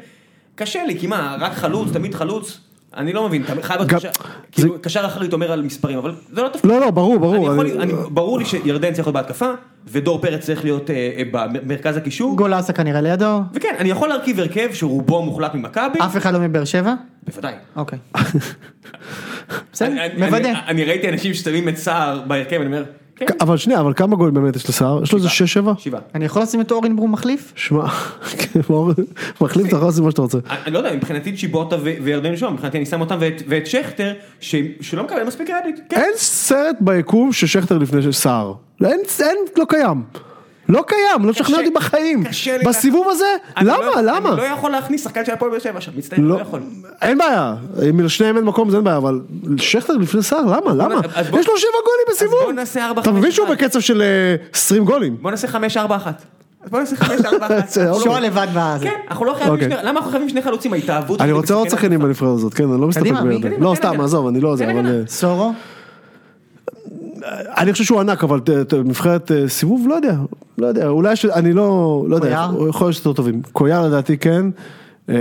A: קשה לי, כי מה, רק חלוץ, תמיד חלוץ? אני לא מבין, אתה חייב להיות
B: גם-
A: קשר, כאילו קשר אחרית אומר על מספרים, אבל זה לא תפקיד.
B: לא, לא, ברור,
A: אני
B: ברור.
A: יכול-
B: אני-
A: אני- ברור לי שירדן צריך להיות בהתקפה, ודור פרץ צריך להיות אה, אה, במרכז הקישור,
C: גולסה כנראה לידו,
A: וכן, אני יכול להרכיב הרכב שרובו מוחלט ממכבי,
C: אף אחד לא מבאר שבע?
A: בוודאי.
C: אוקיי.
A: אני-
C: בסדר,
A: אני-
C: מוודא.
A: אני- אני ראיתי אנשים ששמים את סער בהרכב, אני אומר, כן,
B: אבל שנייה, אבל כמה גולים באמת יש לסער? יש לו איזה 6-7?
A: שבעה.
C: אני יכול לשים את אורן ברום מחליף?
B: שמע, כאילו, מחליף אתה יכול לעשות מה שאתה רוצה.
A: אני אני לא יודע, מבחינתי צ'יבוטה ו- וירדן שוהם, מבחינתי אני שם אותם ואת- ואת שכטר, ש- שלא מקבל מספיק קרדיט. כן.
B: אין סרט ביקום ששכטר לפני סער. אין, אין, לא קיים. לא קיים, לא תשכנע אותי בחיים.
A: קשה לי
B: בסיבוב הזה?
A: אני לא-
B: למה? למה?
A: אני לא יכול להכניס שחקן של הפועל באר שבע עכשיו, מצטער,
B: לא-
A: לא יכול.
B: אין בעיה, אם לשניהם אין מקום זה אין בעיה, אבל שכטר לפני סער, למה? למה?
A: אז בוא-
B: יש לו שבע גולים בסיבוב.
A: בוא נעשה ארבע,
B: אתה
A: חמש,
B: מבין שהוא
A: אחד.
B: בקצב של אה, 20 גולים?
A: בוא נעשה חמש, ארבע, אחת. אז בוא נעשה חמש, ארבע, אחת.
B: זה עוד
C: שואה לבד בזה.
A: לא, כן, אנחנו לא חייבים
B: אוקיי.
A: שני, למה אנחנו חייבים שני חלוצים, ההתאהבות.
B: אני
A: הזאת
B: רוצה עוד
A: מסכנת
B: שחקנים
A: אותך.
B: בנבחרת הזאת, כן, אני לא מסתפק
C: קדימה, מי?
B: בירדן.
A: קדימה,
B: לא,
A: תן
B: סתם,
A: הגנה.
B: עזוב, אני לא זה,
A: תן
B: אבל...
A: הגנה.
B: אה,
C: סורו?
B: אני חושב שהוא ענק, אבל ת- ת- נבחרת אה, סיבוב, לא יודע, לא יודע, אולי ש... אני לא, לא יודע,
C: קויאר?
B: הוא יכול להיות יותר טובים. קויאר לדעתי כן. אה,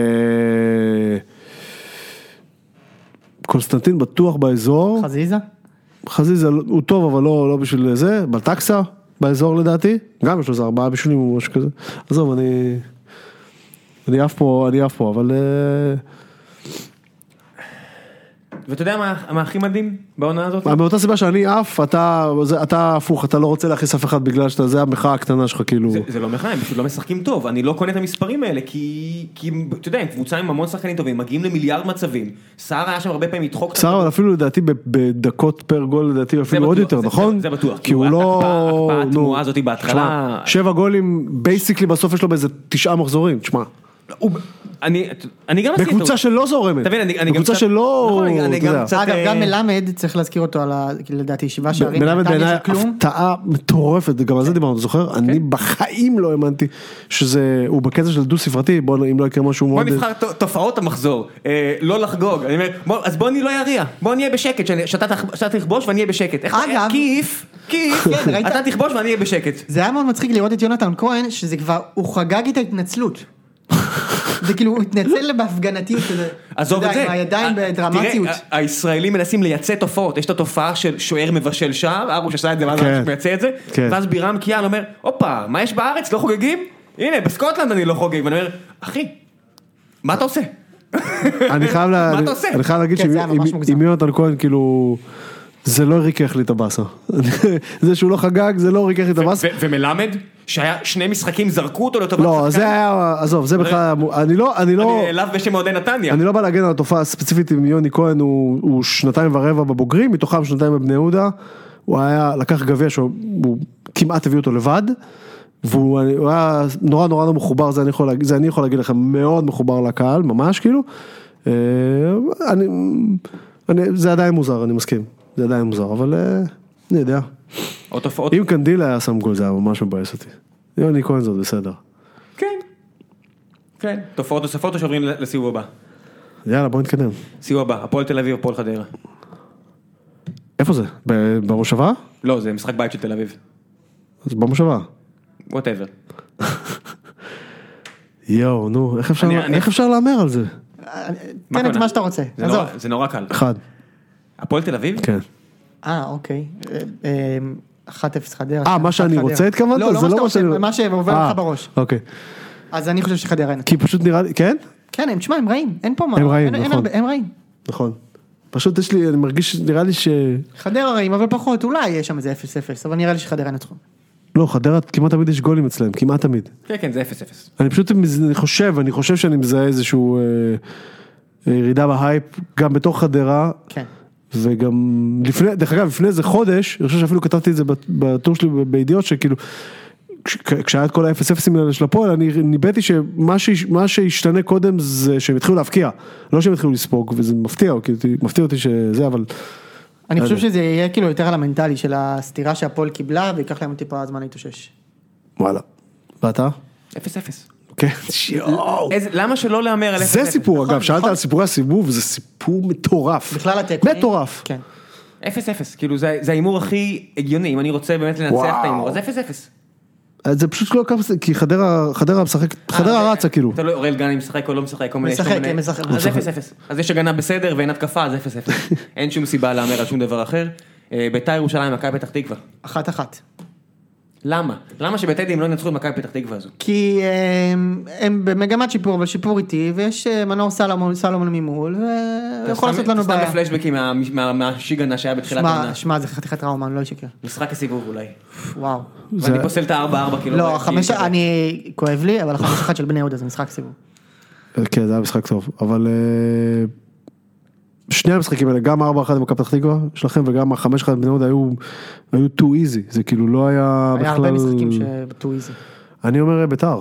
B: קונסטנטין בטוח באזור,
C: חזיזה?
B: חזיזה הוא טוב אבל לא, לא בשביל זה, בלטקסה באזור לדעתי, גם יש לו איזה ארבעה בישולים או משהו כזה, עזוב אני, אני עף פה, אני עף פה, אבל אה,
A: ואתה יודע מה מה הכי מדהים בעונה הזאת?
B: מה, מאותה סיבה שאני עף, אתה, זה- אתה הפוך, אתה לא רוצה להכניס אף אחד בגלל שאתה, זה המחאה הקטנה שלך כאילו.
A: זה, זה לא מחאה, הם פשוט לא משחקים טוב, אני לא קונה את המספרים האלה, כי, כי אתה יודע, הם קבוצה עם המון שחקנים טובים, מגיעים למיליארד מצבים, סער היה שם הרבה פעמים לדחוק, את
B: סער
A: הכדור.
B: אבל אפילו לדעתי ב- בדקות פר גול לדעתי אפילו
A: בטוח,
B: עוד יותר
A: זה-
B: נכון?
A: זה- זה בטוח,
B: כי הוא
A: כי הוא
B: לא...
A: ההקפאה- ההקפאה
B: נו,
A: התמוהה הזאת בהתחלה-
B: תשמע, שבע גולים בייסיקלי בסוף יש לו באיזה תשעה מחזורים, תשמע.
A: הוא- אני, אני גם עשיתי
B: בקבוצה
A: טעות.
B: שלא זורמת.
A: אתה מבין, אני- אני גם
B: בקבוצה
A: קצת-
B: שלא...
A: נכון, אני- אני
B: אתה
A: גם
B: יודע.
A: קצת-
C: אגב,
A: אה,
C: גם מלמד, צריך להזכיר אותו על ה... לדעתי, שבעה שערים.
B: מלמד
C: נתניה
B: בעיניי
C: זה כלום.
B: הפתעה מטורפת, גם
A: כן.
B: על זה דיברנו, אתה זוכר? אני בחיים לא האמנתי שזה, הוא בקטע של דו ספרתי, בוא נ- אם לא יקרה משהו
A: בוא
B: מאוד...
A: נבחר ת- תופעות המחזור, אה, לא לחגוג, אני אומר, בוא, אז בוא אני לא אריע, בוא נהיה בשקט, שאני- שאתה תח- שאתה תכבוש ואני אהיה בשקט, איך-
C: אגב-
A: כיף, כיף,
C: כן, ראית?
A: אתה תכבוש ואני אהיה בשקט,
C: זה היה מאוד מצחיק לראות את יונתן כהן, שזה כבר, הוא חגג את ההתנצלות. זה כאילו, הוא התנצל בהפגנתיות כזה.
A: עזוב
C: אתה
A: את
C: יודע,
A: זה,
C: עם הידיים
A: אה,
C: בדרמטיות.
A: תראה, ה- הישראלים מנסים לייצא תופעות, יש את התופעה של שוער מבשל שער, ארוש עשה את זה, ואז
B: כן.
A: ארוש מייצא את זה,
B: כן.
A: ואז בירם קיאל אומר, הופה, מה יש בארץ, לא חוגגים? הנה, בסקוטלנד אני לא חוגג, ואני אומר, אחי, מה אתה עושה?
B: אני חייב, לה...
A: מה
B: אני...
A: אתה עושה?
B: אני חייב להגיד
C: כן, זה היה ממש
B: שאם
C: מוגזם.
B: אם יונתן כהן כאילו זה לא ריקח לי את הבאסה. זה שהוא לא חגג, זה לא ריקח לי את הבאסה.
A: ו- ומלמד, שהיה שני משחקים, זרקו אותו לטובת
B: לא,
A: שחקן.
B: זה היה, עזוב, זה בכלל, היה מו- אני לא, אני לא,
A: אני אליו בשם אוהדי נתניה.
B: אני לא בא להגן על התופעה הספציפית עם יוני כהן, הוא הוא שנתיים ורבע בבוגרים, מתוכם שנתיים בבני יהודה. הוא היה, לקח גביע שהוא כמעט הביא אותו לבד. והוא אני- הוא היה נורא נורא לא מחובר, זה אני יכול להגיד, זה אני יכול להגיד לכם, מאוד מחובר לקהל, ממש כאילו. אה, אני, אני, זה עדיין מוזר, אני מסכים. זה עדיין מוזר, אבל אה, אני יודע.
A: עוד תופעות.
B: אם קנדיל היה שם גול זה היה ממש מבאס אותי. יוני כהן זה עוד בסדר.
A: כן. כן. תופעות נוספות או שעוברים לסיבוב הבא?
B: יאללה בוא נתקדם.
A: סיבוב הבא, הפועל תל אביב, הפועל חדרה.
B: איפה זה? ב- במושבה?
A: לא, זה משחק בית של תל אביב.
B: אז במושבה.
A: ווטאבר.
B: יואו נו איך אפשר,
A: אני- אני-
B: איך אפשר להמר על זה?
C: אה, תן כן, את מה שאתה רוצה,
A: זה לא
C: עזוב.
A: נורא- זה נורא קל.
B: אחד.
A: הפועל תל אביב?
B: כן.
C: אה, אוקיי. אה, אה, 1-0 חדרה.
B: אה מה שאני
C: 1-0
B: רוצה
C: חדרה.
B: התכוונת?
C: לא,
B: זה
C: לא מה שאתה רוצה, מה שעובר
B: אה,
C: לך בראש.
B: אוקיי.
C: אז אני חושב שחדרה אין.
B: כי פשוט נראה לי, כן?
C: כן, הם, תשמע, הם רעים, אין פה מה.
B: הם רעים,
C: אין- אין
B: נכון.
C: הרבה- הם רעים.
B: נכון. פשוט יש לי, אני מרגיש, נראה לי ש...
C: חדרה רעים, אבל פחות, אולי יש שם איזה 0-0, אבל נראה לי שחדרה ינצחו.
B: לא, חדרה כמעט תמיד יש גולים אצלם, כמעט תמיד.
A: כן, כן, זה 0-0.
B: אני פשוט מז- אני חושב, אני חושב שאני מזהה איזשהו אה, אה, ירידה בהייפ, גם בתוך חדרה,
C: כן.
B: וגם לפני, דרך אגב, לפני איזה חודש, אני חושב שאפילו כתבתי את זה בת- בטור שלי ב- בידיעות, שכאילו, כש- כ- כשהיה את כל האפס אפסים האלה של הפועל, אני ניבאתי שמה שיש- מה שהשתנה קודם זה שהם התחילו להבקיע, לא שהם התחילו לספוג, וזה מפתיע, כאילו, אותי- מפתיע אותי שזה, אבל
C: אני
B: לא
C: חושב שזה יהיה כאילו יותר על המנטלי של הסתירה שהפועל קיבלה, וייקח להם טיפה זמן להתאושש.
B: וואלה. ואתה?
A: 0-0.
B: כן, שיואו.
A: איזה- למה שלא להמר על 0-0?
B: זה סיפור, אגב, שאלת
C: נכון.
B: על סיפורי הסיבוב, זה סיפור מטורף.
C: בכלל התיקונים.
B: מטורף.
C: כן.
A: 0-0, כאילו זה זה ההימור הכי הגיוני, אם אני רוצה באמת לנצח את
B: וואו.
A: ההימור, אז 0-0.
B: אז זה פשוט לא כמה, כי חדרה, חדרה משחקת, חדרה
A: אה,
B: רצה כאילו.
A: אתה לא אוראל גני משחק או לא משחק, כל מיני, יש כל
C: משחק,
A: מיני-
C: כן, משחק.
A: אז 0-0. אז יש הגנה בסדר ואין התקפה, אז 0-0. אין שום סיבה להמר על שום דבר אחר. אה, ביתר ירושלים, מכבי פתח תקווה.
C: אחת-אחת.
A: למה? למה שבטדי הם לא ינצחו את מכבי פתח תקווה הזו?
C: כי אה, הם, הם במגמת שיפור, אבל שיפור איטי, ויש אה, מנור סלומון, סלומון ממול,
A: אתה
C: ויכול
A: סתם-
C: לעשות לנו
A: אתה סתם
C: בעיה.
A: בפלשבקים מה- מה- מהשיגענה שהיה בתחילת העונה.
C: שמע, שמע, זה חתיכת טראומה, אני לא אשקר.
A: משחק הסיבוב אולי.
C: וואו.
B: זה-
A: ואני פוסל את ה-4-4 כאילו.
C: לא, החמש,
A: כי-
C: אני, כואב לי, אבל החמש אחת של בני יהודה זה משחק סיבוב.
B: כן, זה היה משחק טוב, אבל אה, שני המשחקים האלה, גם 4-1 במכבי פתח תקווה שלכם וגם ה-5-1 בני יהודה היו, היו too easy, זה כאילו לא היה בכלל...
C: היה הרבה משחקים שבטו איזי.
B: אני אומר אה, ביתר.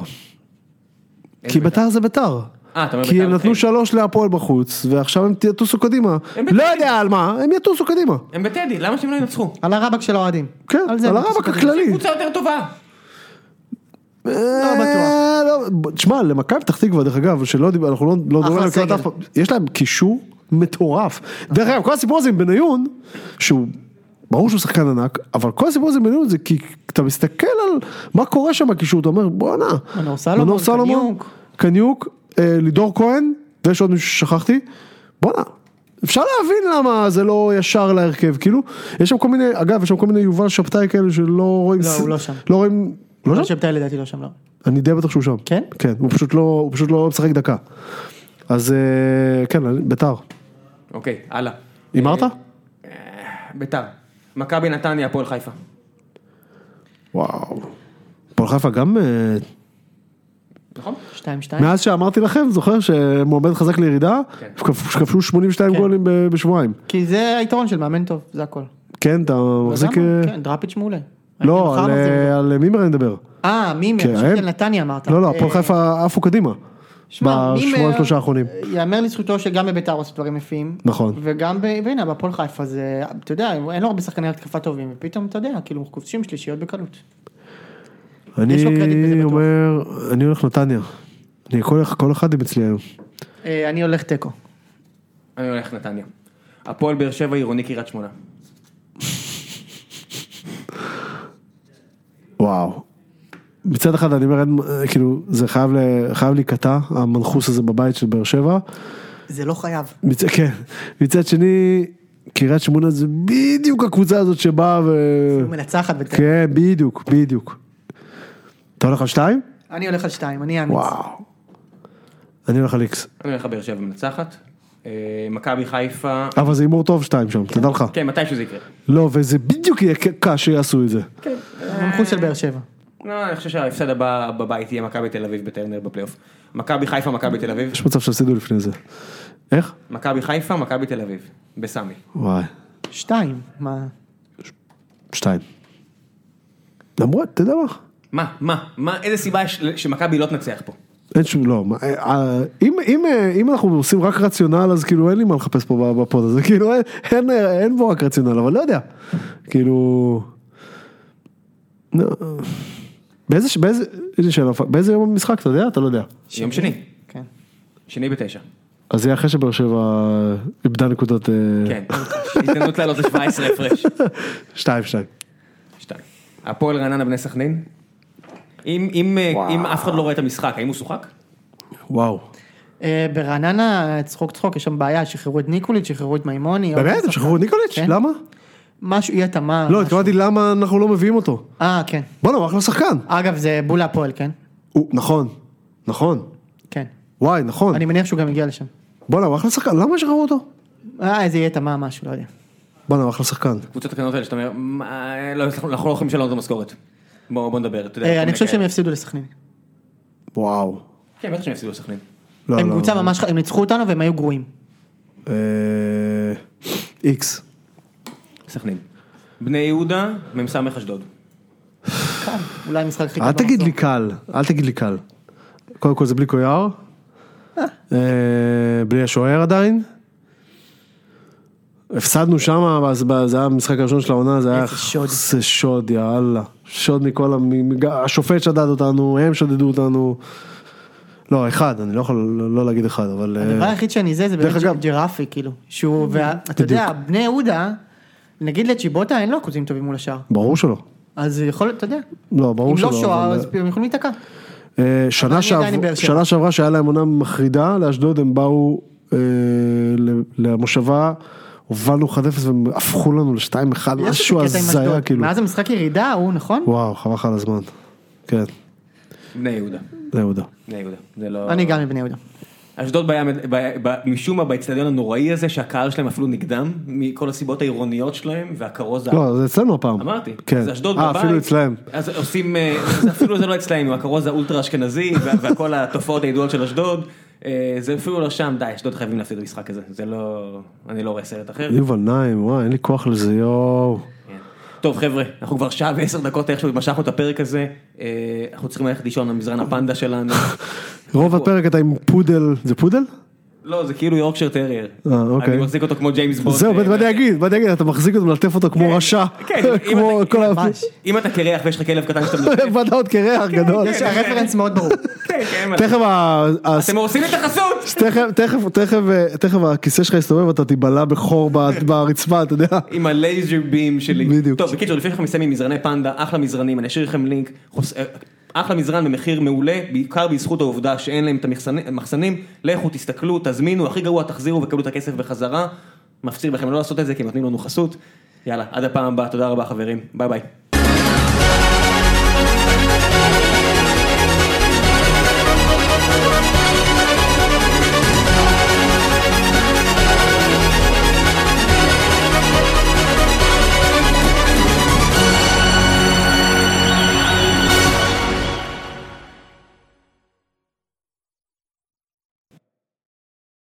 B: כי ביתר זה ביתר.
A: אה, אתה אומר
B: כי
A: ביתר
B: הם נתנו
A: אוקיי.
B: שלוש להפועל בחוץ, ועכשיו הם יטוסו קדימה.
A: הם
B: לא
A: בטדי.
B: יודע על מה, הם יטוסו קדימה.
A: הם בטדי, למה שהם לא ינצחו?
C: על הרבק של האוהדים.
B: כן,
C: זה
B: על
C: הם
B: הרבק
C: מתעסקים.
B: הכללי.
A: קבוצה יותר טובה.
B: לא בטוח. תשמע, למכבי פתח תקווה, דרך אגב, שלא דיבר, אנחנו לא- לא מדברים עליהם כמעט
C: סגל.
B: אף פעם, יש להם קישור מטורף. דרך אגב, כל הסיפור הזה עם בניון, שהוא, ברור שהוא שחקן ענק, אבל כל הסיפור הזה עם בניון זה כי אתה מסתכל על מה קורה שם בקישור, אתה אומר, בואנה.
C: מנור סלומון, קניוק."
B: קניוק, אה, לידור כהן, ויש עוד מישהו ששכחתי, בואנה. אפשר להבין למה זה לא ישר להרכב, כאילו, יש שם כל מיני, אגב, יש שם כל מיני יובל שבתאי כאלה שלא רואים,
C: לא,
B: ס-
C: הוא לא שם.
B: לא רואים, לא שם?
C: לא שבתאי לדעתי לא שם, לא.
B: אני די בטוח שהוא שם.
C: כן?
B: כן, הוא פשוט לא, הוא פשוט לא משחק דקה. אז אה, כן, אני- ביתר.
A: אוקיי, הלאה.
B: הימרת?
A: ביתר. מכבי נתניה, הפועל חיפה.
B: וואו. הפועל חיפה גם, אה,
A: נכון?
C: שתיים שתיים.
B: מאז שאמרתי לכם, זוכר שמועמד חזק לירידה,
A: כן.
B: כפ- שכבשו 82
C: כן.
B: גולים ב- בשבועיים.
C: כי זה היתרון של מאמן טוב, זה הכל.
B: כן, אתה מחזיק... אה,
C: כן, דראפיץ' מעולה.
B: לא,
C: אני מחר
B: על,
C: מחזיר אותו.
B: אה, על מימר אני מדבר.
C: אה, מימר,
B: כן,
C: חשבתי
B: הם-
C: על נתניה אמרת.
B: לא, לא,
C: אה,
B: הפועל חיפה עפו קדימה.
C: שמע,
B: בשבועיים
C: מימר,
B: שלושה האחרונים.
C: יאמר לזכותו שגם בביתר הוא עושה דברים יפים.
B: נכון.
C: וגם, ב- והנה, בהפועל חיפה זה, אתה יודע, אין לו הרבה שחקני התקפה טובים, ופתאום, אתה יודע, כאילו, כובשים שלישיות בקלות. יש לו קרדיט בזה
B: אני
C: בטוח.
B: אומר, אני הולך נתניה. אני כל אחד- כל אחד עם אצלי היום.
C: אה, אני הולך תיקו.
A: אני הולך נתניה. הפועל באר שבע, עירוני קריית שמונה.
B: וואו. מצד אחד אני אומר, אין- כאילו, זה חייב, ל- חייב להיקטע, המנחוס הזה בבית של באר שבע.
C: זה לא חייב.
B: מצד, כן. מצד שני, קריית שמונה זה בדיוק הקבוצה הזאת שבאה ו...
C: מנצחת בתיקו.
B: כן, בדיוק, בדיוק. אתה הולך על שתיים?
C: אני הולך על שתיים, אני אאמץ.
B: וואו. אני הולך על איקס.
A: אני הולך לבאר שבע מנצחת. אה, מכבי חיפה,
B: אבל זה הימור טוב שתיים שם, תדע לך.
A: כן, מתי שזה יקרה.
B: לא, וזה בדיוק יהיה קקה שיעשו את זה.
C: המנחוס של באר אה, שבע.
A: לא, אני חושב שההפסד הבא בבית יהיה מכבי תל אביב בטרנר בפלייאוף. מכבי חיפה, מכבי תל אביב.
B: יש מצב שהפסידו לפני זה. איך?
A: מכבי חיפה, מכבי תל אביב. בסמי.
B: וואי,
C: שתיים, מה?
B: שתיים. למרות, אתה יודע מה?
A: מה, מה, מה, איזה סיבה יש שמכבי לא תנצח פה?
B: אין שום, לא, מה, אה, אם, אם, אה, אם אנחנו עושים רק רציונל אז כאילו אין לי מה לחפש פה בפוד הזה, כאילו אין, אין, אין בו רק רציונל, אבל לא יודע, כאילו, לא. באיזה, ש- באיזה, איזה שאלה, באיזה יום המשחק אתה יודע? אתה לא יודע.
A: יום שני.
C: כן.
A: שני בתשע.
B: אז זה אחרי שבאר שבע איבדה נקודות, אה,
A: כן. הזדמנות לעלות ל-17 הפרש.
B: שתיים שתיים.
A: שתיים. הפועל רעננה בני סכנין? אם, אם, אה, אם אף אחד לא רואה את המשחק, האם הוא שוחק?
B: וואו.
C: אה, ברעננה, צחוק צחוק, יש שם בעיה, שחררו את ניקוליץ', שחררו את מימוני. עוד
B: באמת?
C: שחקן.
B: הם שחררו את ניקוליץ'?
C: כן.
B: למה?
C: משהו, אי התאמה.
B: לא,
C: משהו.
B: התכוונתי למה אנחנו לא מביאים אותו.
C: אה, כן.
B: בואנה, הוא אחלה שחקן.
C: אגב, זה בול הפועל, כן?
B: הוא- נכון, נכון.
C: כן.
B: וואי, נכון.
C: אני מניח שהוא גם הגיע לשם.
B: בואנה, הוא אחלה שחקן, למה שחררו אותו?
C: אה, איזה אי התאמה, משהו, לא יודע.
B: בואנה, הוא אחלה שחקן.
A: קבוצות הקטנות האלה שאתה אומר, "מה, לא, אנחנו לא יכולים לשלם את המשכורת. בוא, בוא נדבר, אתה יודע.
C: אה,
A: כל
C: אני חושב
A: מיני
C: שהם
A: כאלה.
C: יפסידו לסכנין.
B: וואו.
A: כן, בטח שהם יפסידו לסכנין.
B: לא,
C: הם
B: לא.
C: קבוצה ממש, ח- הם ניצחו אותנו והם היו גרועים.
B: אה, איקס.
A: סכנין. בני יהודה, מ"ס אשדוד.
C: אולי המשחק הכי
B: אל
C: טוב
B: תגיד לי
C: במחזור.
B: קל, אל תגיד לי קל. קודם כל זה בלי קויאר. אה, בלי השוער עדיין. הפסדנו שם, אז ב- זה היה המשחק הראשון של העונה, זה היה...
C: איזה שוד.
B: זה שוד, יאללה. שוד מכל המ... מג- השופט שדד אותנו, הם שדדו אותנו. לא, אחד, אני לא יכול לא- לא להגיד אחד, אבל... אה,
C: הדבר היחיד שאני זה, זה
B: דרך
C: באמת
B: אגב-
C: ג'רפי, כאילו. שהוא, ואתה יודע, בני יהודה, נגיד לצ'יבוטה אין לו אחוזים טובים מול השאר.
B: ברור שלא.
C: אז יכול, אתה יודע.
B: לא, ברור שלא.
C: אם לא שוער,
B: אבל-
C: אז הם יכולים להיתקע.
B: אה, שנה,
C: אני
B: שעב...
C: עדיין עם באר שבע.
B: שנה שעברה שהיה להם עונה מחרידה לאשדוד הם באו אה, ל- למושבה הובלנו 1-0 והם הפכו לנו ל-2-1
C: יש איזה
B: משהו
C: קטע עם
B: הזיה
C: אשדוד.
B: כאילו
C: מאז המשחק ירידה הוא, נכון?
B: וואו חבל לך על הזמן. כן
A: בני יהודה.
B: זה יהודה.
A: בני יהודה. זה לא...
C: אני גם מבני יהודה.
A: אשדוד בעיה, ב- ב- משום מה באצטדיון הנוראי הזה שהקהל שלהם אפילו נקדם מכל הסיבות העירוניות שלהם והכרוז. ה-
B: לא זה אצלנו הפעם.
A: אמרתי,
B: כן.
A: זה אשדוד
B: אה,
A: בבית,
B: אפילו אצלהם.
A: אז עושים, אה, זה אפילו זה לא אצלנו, הכרוז האולטרה אשכנזי וה- וכל התופעות הידועות של אשדוד, אה, זה אפילו לא שם, די, אשדוד חייבים להפסיד במשחק הזה, זה לא, אני לא רואה סרט אחר.
B: יובל נעים וואי אין לי כוח לזה יואו.
A: כן. טוב חבר'ה, אנחנו כבר שעה ועשר דקות איכשהו משכנו את הפרק הזה, אה, אנחנו צריכים ללכת לישון למזרן הפנדה שלנו,
B: רוב הפרק אתה עם פודל זה פודל?
A: לא זה כאילו יורקשר טרייר,
B: אה, אוקיי.
A: אני מחזיק אותו כמו ג'יימס בונד,
B: זהו
A: אה,
B: מה אני אגיד מה אני אגיד אתה מחזיק אותו מלטף אותו כמו רשע.
A: כן, אם
B: כמו
A: אתה-
B: כל ה...
C: ממש.
A: אם אתה קרח ויש לך כלב קטן שאתה מנוסף,
B: ועדה עוד קרח גדול.
C: יש הרפרנס מאוד ברור.
A: כן, כן, מה-
B: תכף ה- ה-
A: אתם הורסים את החסות!
B: תכף, תכף, תכף, אה, תכף הכיסא שלך יסתובב ואתה תיבלע בחור ב- ברצפה, אתה יודע.
A: עם הלייזר בים שלי.
B: בדיוק.
A: טוב, בקיצור, לפני שאנחנו מסיימים מזרני פנדה, אחלה מזרנים, אני אשאיר לכם לינק. חוס... אה, אחלה מזרן במחיר מעולה, בעיקר בזכות העובדה שאין להם את המחסני- המחסנים. לכו, תסתכלו, תזמינו, הכי גרוע, תחזירו וקבלו את הכסף בחזרה. מפציר בכם לא לעשות את זה, כי הם נותנים לנו חסות. יאללה, עד הפעם הבאה, תודה רבה חברים, ביי ביי.